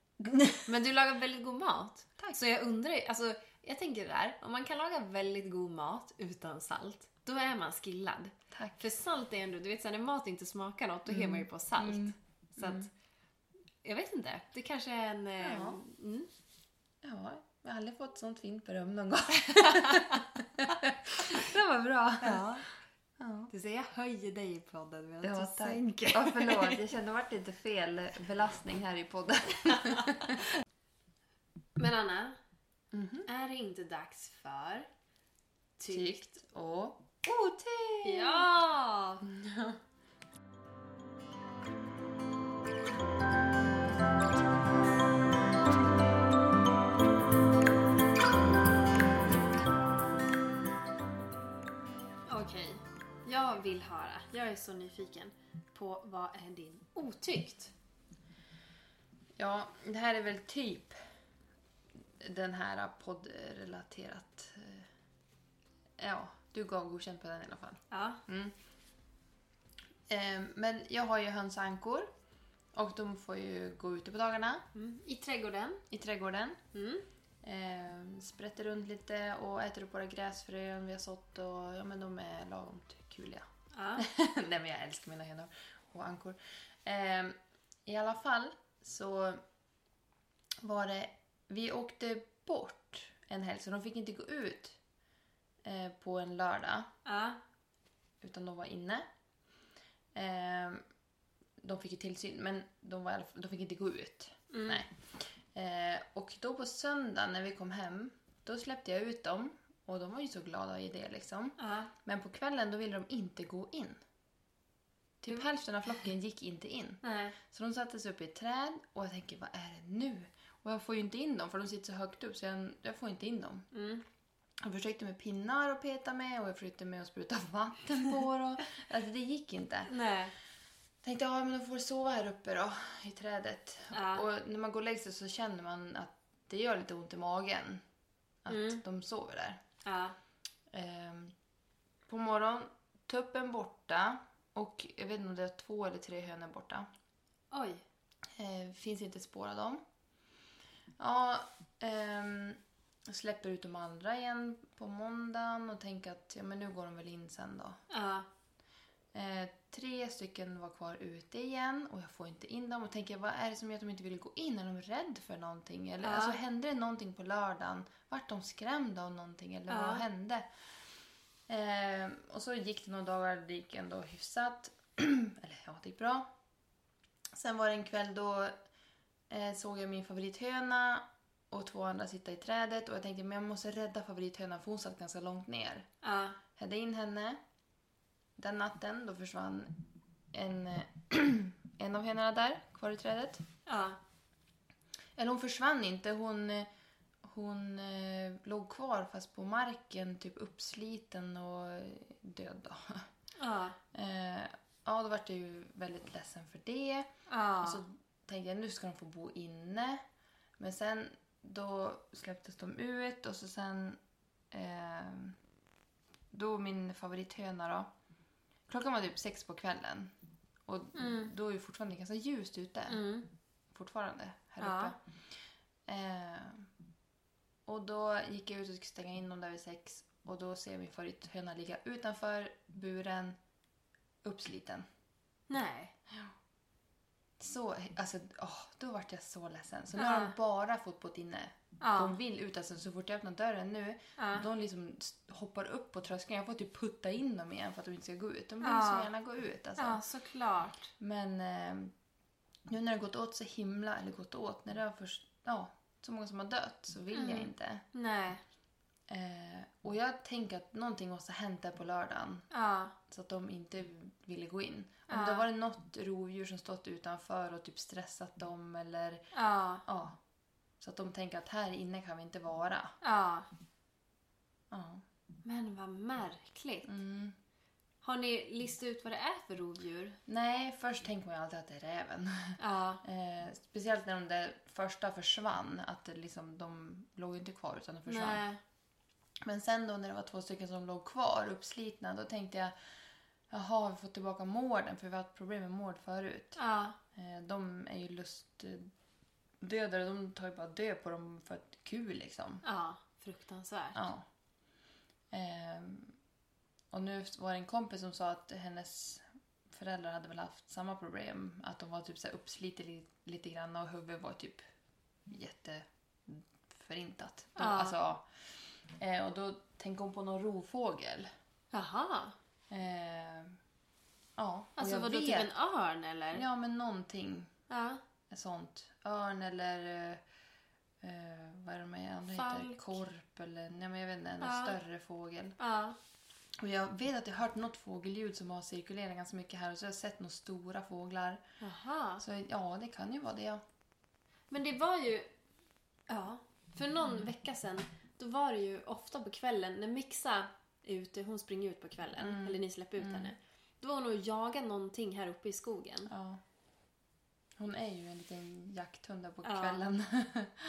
C: Men du lagar väldigt god mat.
B: Tack.
C: Så jag undrar ju- alltså jag tänker det där, om man kan laga väldigt god mat utan salt, då är man skillad.
B: Tack.
C: För salt är ändå, du vet så här, när mat inte smakar något, då mm. man ju på salt. Så att, jag vet inte, det kanske är en... eh,
B: Mm. Ja.
C: Mm.
B: Ja, jag har aldrig fått sånt fint beröm någon gång. det var bra.
C: Ja.
B: Ja.
C: Du ser, jag höjer dig i podden medan
B: Ja,
C: du
B: tack.
C: sänker.
B: Ja, förlåt. Jag kände att det varit lite fel belastning här i podden.
C: Men Anna,
B: Mhm.
C: är det inte dags för tyck?
B: Tyckt och otyckt!
C: Ja! Okej, jag vill höra. Jag är så nyfiken på vad är din otyckt?
B: Ja, det här är väl typ den här poddrelaterat. eh, Ja, du gav godkänt på den i alla fall.
C: Ja.
B: Eh, Men jag har ju hönsankor och de får ju gå ute på dagarna
C: Mm. I trädgården.
B: i trädgården.
C: Mm.
B: Eh, sprätter runt lite och äter upp våra gräsfrön vi har sått och ja, men de är lagom kuliga.
C: Ja.
B: Nej men jag älskar mina hönor och ankor. Eh, I alla fall så var det, vi åkte bort en helg så de fick inte gå ut eh, på en lördag
C: ja.
B: utan de var inne. Eh, de fick ju tillsyn, men de, var, i alla fall- de fick inte gå ut.
C: mm,
B: Nej. Eh, och då på söndagen när vi kom hem, då släppte jag ut dem. Och de var ju så glada i det liksom.
C: ja.
B: Men på kvällen då ville de inte gå in. Typ hälften av flocken gick inte in.
C: Nej.
B: Så de satte sig upp i ett träd och jag tänker, vad är det nu? Och jag får ju inte in dem för de sitter så högt upp så jag, jag får inte in dem.
C: Mm.
B: Jag försökte med pinnar och peta med och jag försökte med att spruta vatten på och, Alltså det gick inte.
C: Nej.
B: Tänkte ja men de får sova här uppe då i trädet.
C: Ja.
B: Och när man går och lägger sig så känner man att det gör lite ont i magen. Att
C: Mm.
B: de sover där.
C: Ja.
B: Ehm, på morgonen, tuppen borta och jag vet inte om det är två eller tre hönor borta.
C: Oj.
B: Eh, finns inte spår av dem. Ja, ehm, släpper ut de andra igen på måndagen och tänker att ja, men nu går de väl in sen då.
C: Ja.
B: Eh, tre stycken var kvar ute igen och jag får inte in dem och tänker vad är det som gör att de inte vill gå in? Är de rädda för någonting? Eller,
C: Ja.
B: alltså, hände det någonting på lördagen? Vart de skrämda av någonting eller
C: Ja.
B: vad hände? Eh, och så gick det några dagar, det gick ändå hyfsat. eller ja, det gick bra. Sen var det en kväll då eh, såg jag min favorithöna och två andra sitta i trädet och jag tänkte men jag måste rädda favorithönan för hon satt ganska långt ner.
C: Ja.
B: Hädde in henne. Den natten då försvann en, eh, en av hönorna där, kvar i trädet.
C: Ja.
B: Eller hon försvann inte, hon, eh, hon eh, låg kvar fast på marken, typ uppsliten och eh, död då.
C: Ja.
B: Eh, ja, då vart jag ju väldigt ledsen för det.
C: Ja.
B: Och så tänkte jag nu ska de få bo inne. Men sen då släpptes de ut och så sen eh, då min favorithöna då. Klockan var typ sex på kvällen och
C: Mm.
B: då är det fortfarande ganska ljust ute.
C: Mm.
B: Fortfarande här
C: Ja.
B: uppe. Eh, och då gick jag ut och skulle stänga in dem där vid sex och då ser jag min favorithöna ligga utanför buren uppsliten.
C: Nej.
B: Så, alltså, åh, då vart jag så ledsen. Så nu
C: Ja.
B: har de bara fotbott inne.
C: Ja.
B: De vill ut. Alltså, så fort jag öppnar dörren nu,
C: Ja.
B: de liksom s- hoppar upp på tröskeln. Jag får typ putta in dem igen för att de inte ska gå ut. De vill
C: Ja.
B: så gärna gå ut. Alltså.
C: Ja, såklart.
B: Men eh, nu när det gått åt så himla, eller gått åt, när det har först, ja, så många som har dött så vill jag
C: Mm.
B: inte.
C: Nej.
B: Eh, och jag tänker att någonting måste ha hänt där på lördagen
C: Ja.
B: så att de inte ville gå in. Om
C: Ja.
B: det var något rovdjur som stått utanför och typ stressat dem eller
C: Ja.
B: Ja. Så att de tänker att här inne kan vi inte vara.
C: Ja.
B: Ja.
C: Men vad märkligt.
B: Mm.
C: Har ni listat ut vad det är för rovdjur?
B: Nej, först tänker man ju alltid att det är räven.
C: Ja.
B: Eh, speciellt när de där första försvann. Att det liksom, de låg ju inte kvar utan de försvann.
C: Nej.
B: Men sen då när det var två stycken som låg kvar uppslitna då tänkte jag Jaha, vi får tillbaka mården för vi har haft problem med mård förut.
C: Ja.
B: Eh, de är ju lustdödare, de tar ju bara död på dem för att kul liksom.
C: Ja. Fruktansvärt.
B: Ja. Ehm, och nu var det en kompis som sa att hennes föräldrar hade väl haft samma problem. Att de var typ så här uppslitet li- lite grann och huvudet var typ jätteförintat. De,
C: Ja.
B: Alltså, ja. Eh, och då tänkte hon på någon rovfågel.
C: Jaha.
B: Ehm, ja, och
C: Alltså
B: jag
C: vadå, typ en örn eller?
B: Ja, men någonting
C: Ja.
B: sånt. Örn eller... eh, Eh, vad är de här andra heter?
C: Falk.
B: Korp eller... Nej, men jag vet inte. Någon
C: Ja.
B: större fågel.
C: Ja.
B: Och jag vet att jag har hört något fågelljud som har cirkulerat ganska mycket här och så har jag sett några stora fåglar.
C: Jaha.
B: Så ja, det kan ju vara det. ja.
C: Men det var ju... Ja. För någon vecka sedan, då var det ju ofta på kvällen när Mixa är ute, hon springer ut på kvällen,
B: Mm.
C: eller ni släpper ut henne. Då var hon och jagade någonting här uppe i skogen.
B: ja. Hon är ju en liten jakthund där på
C: Ja.
B: kvällen.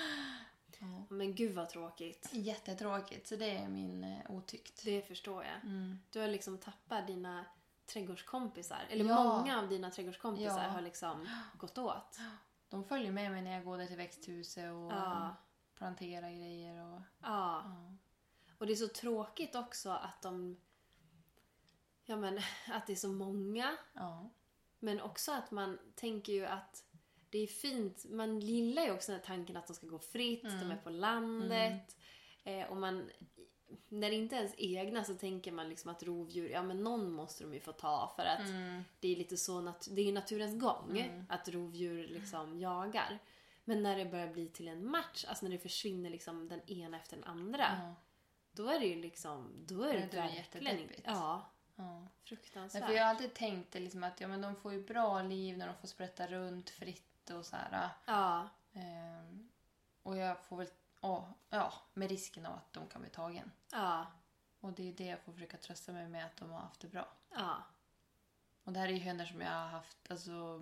B: ja.
C: Men gud vad tråkigt.
B: Jättetråkigt, så det är min eh, otykt.
C: Det förstår jag.
B: Mm.
C: Du har liksom tappat dina trädgårdskompisar. Eller
B: Ja.
C: många av dina trädgårdskompisar
B: Ja.
C: har liksom gått åt.
B: De följer med mig när jag går där till växthuset och
C: Ja.
B: planterar grejer. Och,
C: Ja.
B: ja.
C: Och det är så tråkigt också att de... Ja men, att det är så många.
B: Ja.
C: Men också att man tänker ju att det är fint. Man gillar ju också den här tanken att de ska gå fritt, de är på landet. Eh, och man, när det inte är ens egna så tänker man liksom att rovdjur, ja men någon måste de ju få ta för
B: Mm.
C: att det är lite så, nat- det är ju naturens gång att rovdjur liksom jagar. Men när det börjar bli till en match, alltså när det försvinner liksom den ena efter den andra.
B: Ja.
C: Då är det ju liksom, då är det,
B: Mm. Ja, då är det
C: verkligen
B: jättedeppigt.
C: Ja,
B: Ja. Nej,
C: fruktansvärt.
B: för jag har alltid tänkt det liksom att ja, men de får ju bra liv när de får sprätta runt fritt och så här.
C: Ja,
B: Ehm, och jag får väl... ja, ja, med risken av att de kan bli tagen.
C: ja,
B: Och det är det jag får försöka trösta mig med, att de har haft det bra.
C: ja.
B: Och det här är ju hönor som jag har haft alltså,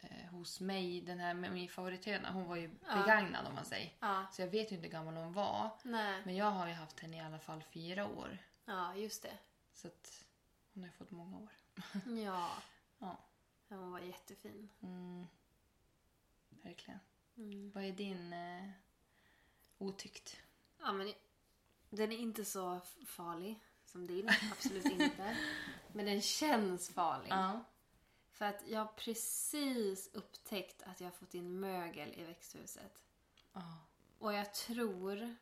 B: eh, hos mig. Den här, min favorithöna, hon var ju
C: Ja.
B: begagnad om man säger.
C: Ja,
B: Så jag vet ju inte hur gammal hon var.
C: nej.
B: Men jag har ju haft henne i alla fall fyra år.
C: Ja, just det.
B: Så att hon har ju fått många år.
C: Ja.
B: Ja.
C: ja hon var jättefin.
B: Mm. Verkligen.
C: Mm.
B: Vad är din eh, otykt?
C: Ja, men den är inte så f- farlig som din. Absolut inte. Men den känns farlig. För att jag har precis upptäckt att jag har fått in mögel i växthuset.
B: Ja.
C: Och jag tror...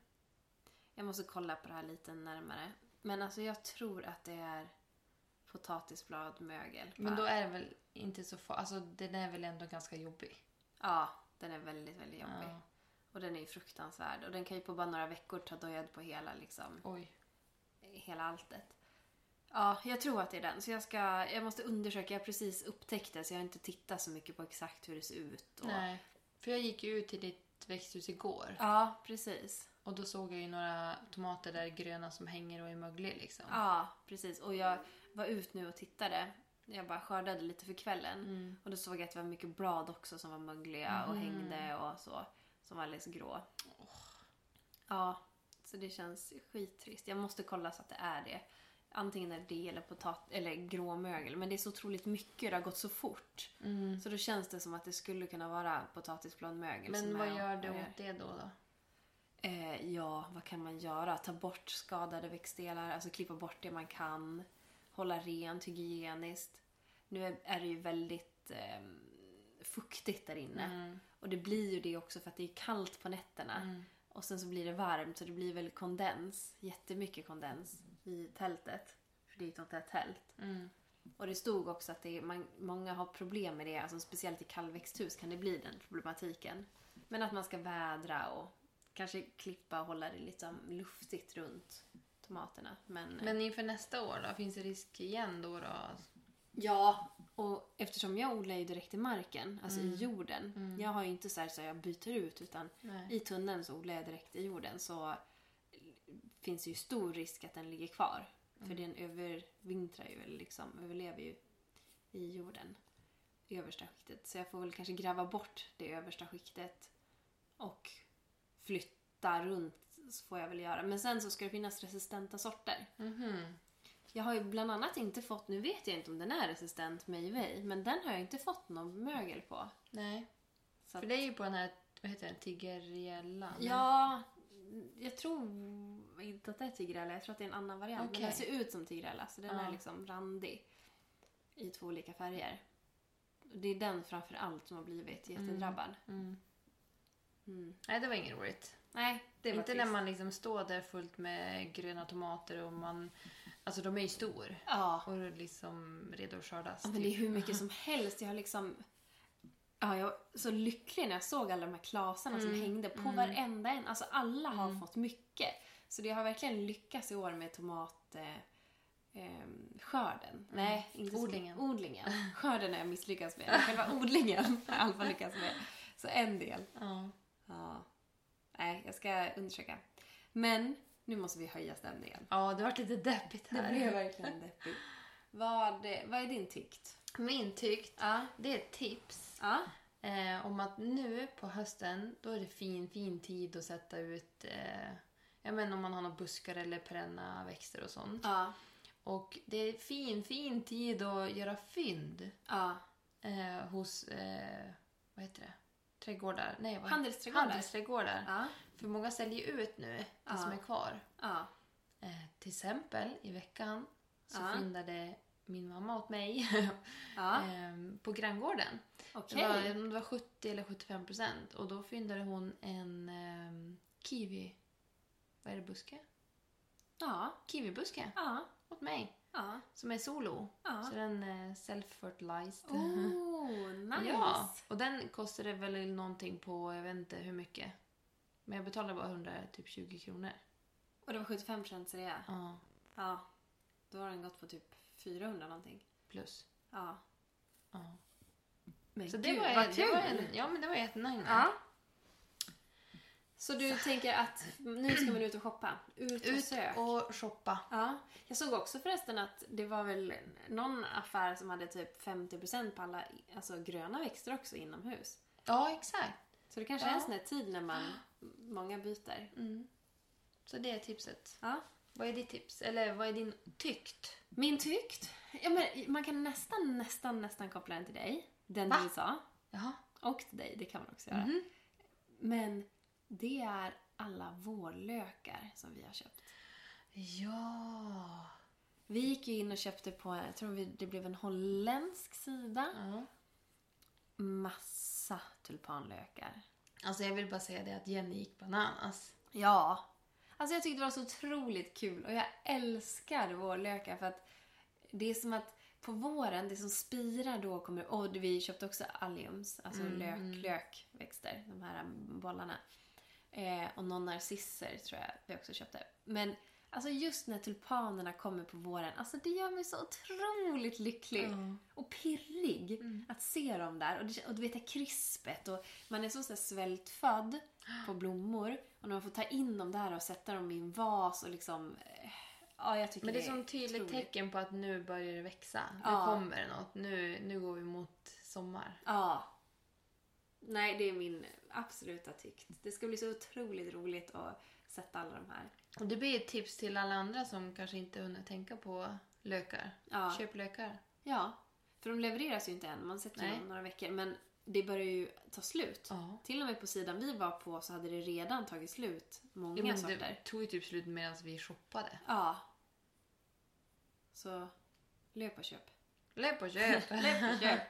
C: Jag måste kolla på det här lite närmare. Men alltså jag tror att det är potatisblad, mögel.
B: Men då är det väl inte så farligt? Alltså den är väl ändå ganska jobbig?
C: Ja, den är väldigt, väldigt jobbig.
B: Ja.
C: Och den är ju fruktansvärd. Och den kan ju på bara några veckor ta död på hela, liksom,
B: Oj.
C: hela alltet. Ja, jag tror att det är den. Så jag, ska, jag måste undersöka. Jag har precis upptäckt det så jag har inte tittat så mycket på exakt hur det ser ut. Och...
B: Nej. För jag gick ju ut till ditt växthus igår
C: Ja, precis.
B: och då såg jag ju några tomater där gröna som hänger och är mögliga liksom.
C: Ja, precis. Och jag var ut nu och tittade. Jag bara skördade lite för kvällen.
B: Mm.
C: Och då såg jag att det var mycket blad också som var mögliga och hängde och så. Som var alldeles grå. Ja, så det känns skittrist. Jag måste kolla så att det är det. Antingen är det det eller, potat- eller gråmögel. Men det är så otroligt mycket, det har gått så fort. Så då känns det som att det skulle kunna vara potatisbladmögel.
B: Mm. Men
C: som
B: vad
C: är-
B: gör du åt det då? då?
C: Eh, ja, vad kan man göra? Ta bort skadade växtdelar, alltså klippa bort det man kan. Hålla rent, hygieniskt. Nu är, är det ju väldigt eh, fuktigt där inne. Och det blir ju det också för att det är kallt på nätterna. Och sen så blir det varmt så det blir väl kondens, jättemycket kondens i tältet. För det är ju ett sånt här tält. Och det stod också att det är, man, många har problem med det, alltså speciellt i kallväxthus kan det bli den problematiken. Men att man ska vädra och kanske klippa och hålla det liksom luftigt runt tomaterna. Men,
B: Men inför nästa år då? Finns det risk igen då? då?
C: ja, och eftersom jag odlar ju direkt i marken, alltså i jorden. Jag har ju inte så här så jag byter ut utan
B: Nej.
C: i tunneln så odlar jag direkt i jorden så finns det ju stor risk att den ligger kvar. För den övervintrar ju, eller liksom överlever ju i jorden. I översta skiktet. Så jag får väl kanske gräva bort det översta skiktet och flytta runt så får jag väl göra. Men sen så ska det finnas resistenta sorter.
B: Mhm.
C: Jag har ju bland annat inte fått, nu vet jag inte om den är resistent meiwei, men den har jag inte fått någon mögel på.
B: Nej.
C: Så att-
B: För det är ju på den här, vad heter den, tiggerjällan?
C: Ja, jag tror inte att det är tigrella. Jag tror att det är en annan variant.
B: Okej.
C: Men den ser ut som tigrella, så den
B: Ja.
C: är liksom randig i två olika färger. Och Det är den framför allt som har blivit jättedrabbad.
B: Mm.
C: Mm.
B: Nej, det var inget roligt.
C: Nej, det var
B: inte
C: trist.
B: när man liksom står där fullt med gröna tomater och man... Alltså de är ju stor.
C: Ja.
B: Och liksom redo att skördas. typ.
C: Ja, Men det är hur mycket som helst. Jag har liksom... Ja, jag var så lycklig när jag såg alla de här klasarna som hängde på varenda en. Alltså alla har fått mycket. Så det har verkligen lyckats i år med tomat... Eh, ehm, skörden. Nej, inte så-
B: Odlingen.
C: odlingen. Skörden har jag misslyckats med. Men Själva odlingen har jag i alla fall lyckats med. Så en del.
B: Ja.
C: Ja. Nej, jag ska undersöka. Men nu måste vi höja stämningen.
B: ja, det vart lite deppigt här.
C: verkligen deppigt. Vad, vad är din tykt?
B: Min tykt,
C: Ja.
B: det är ett tips.
C: Ja.
B: Eh, om att nu på hösten, då är det fin, fin tid att sätta ut... Eh, jag menar om man har några buskar eller perenna växter och sånt.
C: Ja.
B: Och det är fin, fin tid att göra fynd
C: Ja.
B: eh, hos... Eh, vad heter det? Trädgårdar? Nej, vad
C: Handelsträdgårdar.
B: Handelsträdgårdar.
C: Ja.
B: För många säljer ju ut nu, det
C: Ja.
B: som är kvar.
C: Ja.
B: Eh, till exempel i veckan så
C: Ja.
B: fyndade min mamma åt mig
C: Ja.
B: ehm, på granngården.
C: Okej.
B: Det, var, jag vet inte om det var 70 eller 75 procent och då fyndade hon en ehm, kiwi... Vad är det? Buske?
C: Ja.
B: Kiwibuske
C: Ja.
B: åt mig.
C: Ja.
B: Som är solo.
C: Ja.
B: Så den är self-fertilized.
C: Oh, nice.
B: Ja, och den kostade väl någonting på, jag vet inte hur mycket. Men jag betalade bara 100, typ 20 kronor.
C: Och det var 75 procents rea.
B: Ja,
C: Ja. Då har den gått på typ 400 någonting.
B: plus.
C: Ja.
B: Ja.
C: Men
B: Så det
C: gud,
B: var,
C: vad
B: det
C: kul.
B: var en, ja men det var jättenice.
C: Ja. Så du tänker att nu ska man ut och shoppa? Ut och
B: Ut
C: sök.
B: och shoppa.
C: Ja. Jag såg också förresten att det var väl någon affär som hade typ 50% på alla alltså, gröna växter också inomhus.
B: Ja, exakt.
C: Så det kanske är
B: Ja.
C: en sån här tid när man, många byter.
B: Mm. Så det är tipset.
C: Ja.
B: Vad är ditt tips? Eller vad är din tyckt?
C: Min tykt? Ja, men man kan nästan, nästan, nästan koppla den till dig. Den
B: Va?
C: du sa.
B: Jaha.
C: Och till dig, det kan man också göra. Men det är alla vårlökar som vi har köpt.
B: Ja.
C: Vi gick ju in och köpte på, jag tror vi, det blev en holländsk sida.
B: ja.
C: Massa tulpanlökar.
B: Alltså jag vill bara säga det att Jenny gick bananas.
C: Ja. Alltså jag tyckte det var så otroligt kul och jag älskar vårlökar för att det är som att på våren, det som spirar då kommer... Och vi köpte också alliums, alltså
B: Mm.
C: lök, lökväxter, de här bollarna. Eh, och någon narcisser tror jag vi också köpte. Men alltså just när tulpanerna kommer på våren, alltså det gör mig så otroligt lycklig.
B: Ja.
C: Och pirrig
B: Mm.
C: att se dem där. Och, det, och du vet det här krispet. Och man är så, så här svältfödd
B: Ah.
C: på blommor. Och när man får ta in dem där och sätta dem i en vas och liksom... eh, Ja, jag tycker
B: Men det är som tydligt
C: otroligt.
B: tecken på att nu börjar det växa.
C: Ja.
B: Nu kommer det något. Nu, nu går vi mot sommar.
C: Ja. Nej, det är min absoluta tykt. Det ska bli så otroligt roligt att sätta alla de här.
B: Och det blir ett tips till alla andra som kanske inte hunnit tänka på lökar.
C: Ja.
B: Köp lökar.
C: Ja, för de levereras ju inte än. Man sätter ju
B: Nej.
C: dem några veckor. Men det börjar ju ta slut.
B: Ja.
C: Till och med på sidan vi var på så hade det redan tagit slut. Många
B: Ja, men
C: sorter.
B: det tog ju typ slut medan vi shoppade.
C: Ja. Så löp och köp.
B: Löp och köp!
C: Löp och köp.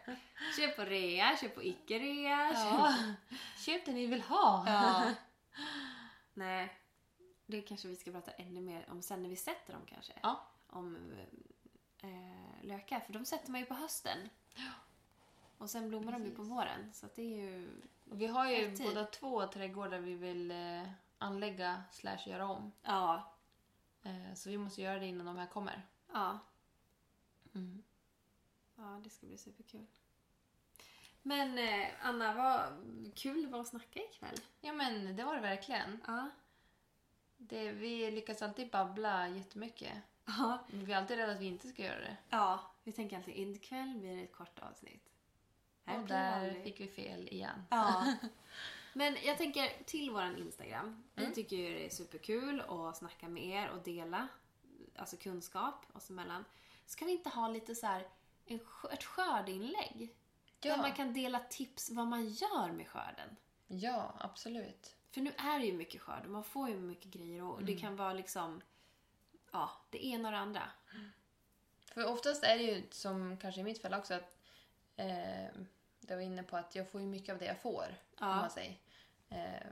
C: köp på rea, köp på icke-rea.
B: ja.
C: Köp...
B: Köp det ni vill ha!
C: Ja. Nej, det kanske vi ska prata ännu mer om sen när vi sätter dem kanske.
B: Ja.
C: Om eh, lökar, för de sätter man ju på hösten. Och sen blommar de ju på våren. Så att det är ju...
B: Och vi har ju
C: Rätt tid.
B: båda två trädgårdar vi vill eh, anlägga slash göra om.
C: Ja.
B: Eh, så vi måste göra det innan de här kommer.
C: Ja.
B: Mm.
C: Ja, det ska bli superkul. Men eh, Anna, vad kul det var att snacka ikväll.
B: Ja men det var det verkligen.
C: Ja.
B: Det, vi lyckas alltid babbla jättemycket.
C: Ja,
B: Men Vi är alltid rädda att vi inte ska göra det.
C: Ja, vi tänker alltid in ikväll blir det ett kort avsnitt. Här
B: Och
C: blir det
B: där
C: aldrig.
B: fick vi fel igen.
C: Ja. Men jag tänker till våran Instagram. Vi
B: Mm.
C: tycker ju det är superkul att snacka med er och dela alltså kunskap oss emellan. Ska vi inte ha lite så här en, skö- ett skördinlägg?
B: Ja.
C: Där man kan dela tips vad man gör med skörden.
B: Ja, absolut.
C: För nu är det ju mycket skörd och man får ju mycket grejer och
B: Mm.
C: det kan vara liksom ja, det ena och det andra.
B: För oftast är det ju, som kanske i mitt fall också, att eh, jag var inne på att jag får ju mycket av det jag får.
C: Ja.
B: Om man, säger. Eh,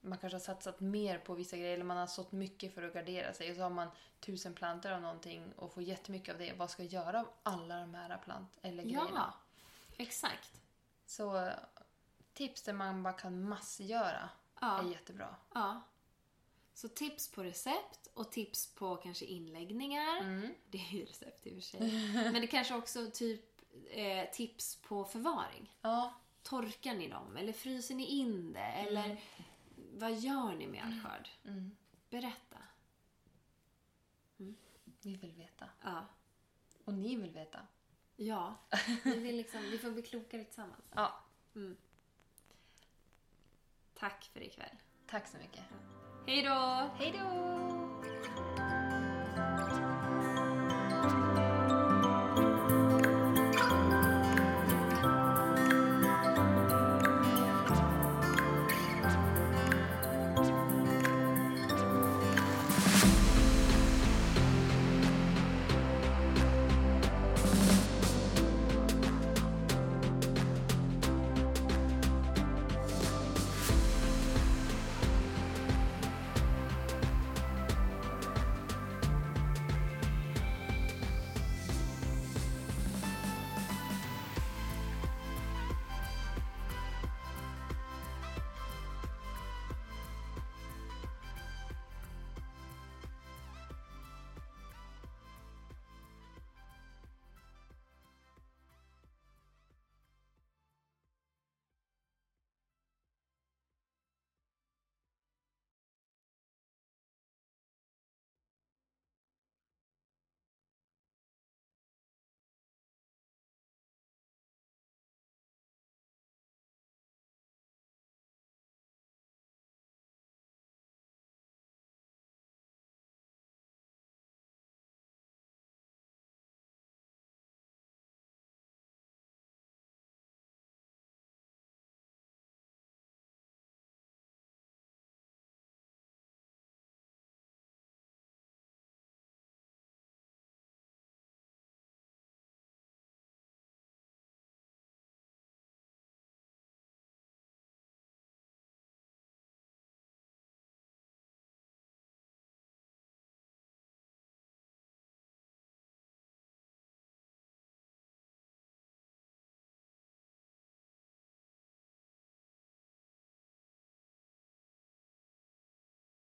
B: man kanske har satsat mer på vissa grejer, eller man har sått mycket för att gardera sig. Och så har man tusen plantor av någonting och får jättemycket av det. Vad ska jag göra av alla de här plant eller grejerna?
C: Ja, exakt.
B: Så eh, tips där man bara kan massgöra
C: Ja.
B: är jättebra.
C: Ja. Så tips på recept och tips på kanske inläggningar.
B: Mm.
C: Det är ju recept i och för sig. Men det kanske också typ eh, tips på förvaring.
B: Ja,
C: Torkar ni dem? Eller fryser ni in det? Eller vad gör ni med all skörd?
B: Mm.
C: Berätta.
B: vi vill veta.
C: Ja.
B: Och ni vill veta.
C: Ja. Vi, vill liksom, vi får bli klokare tillsammans. Mm.
B: Ja,
C: Tack för ikväll.
B: tack så mycket.
C: Hej då!
B: Hej då!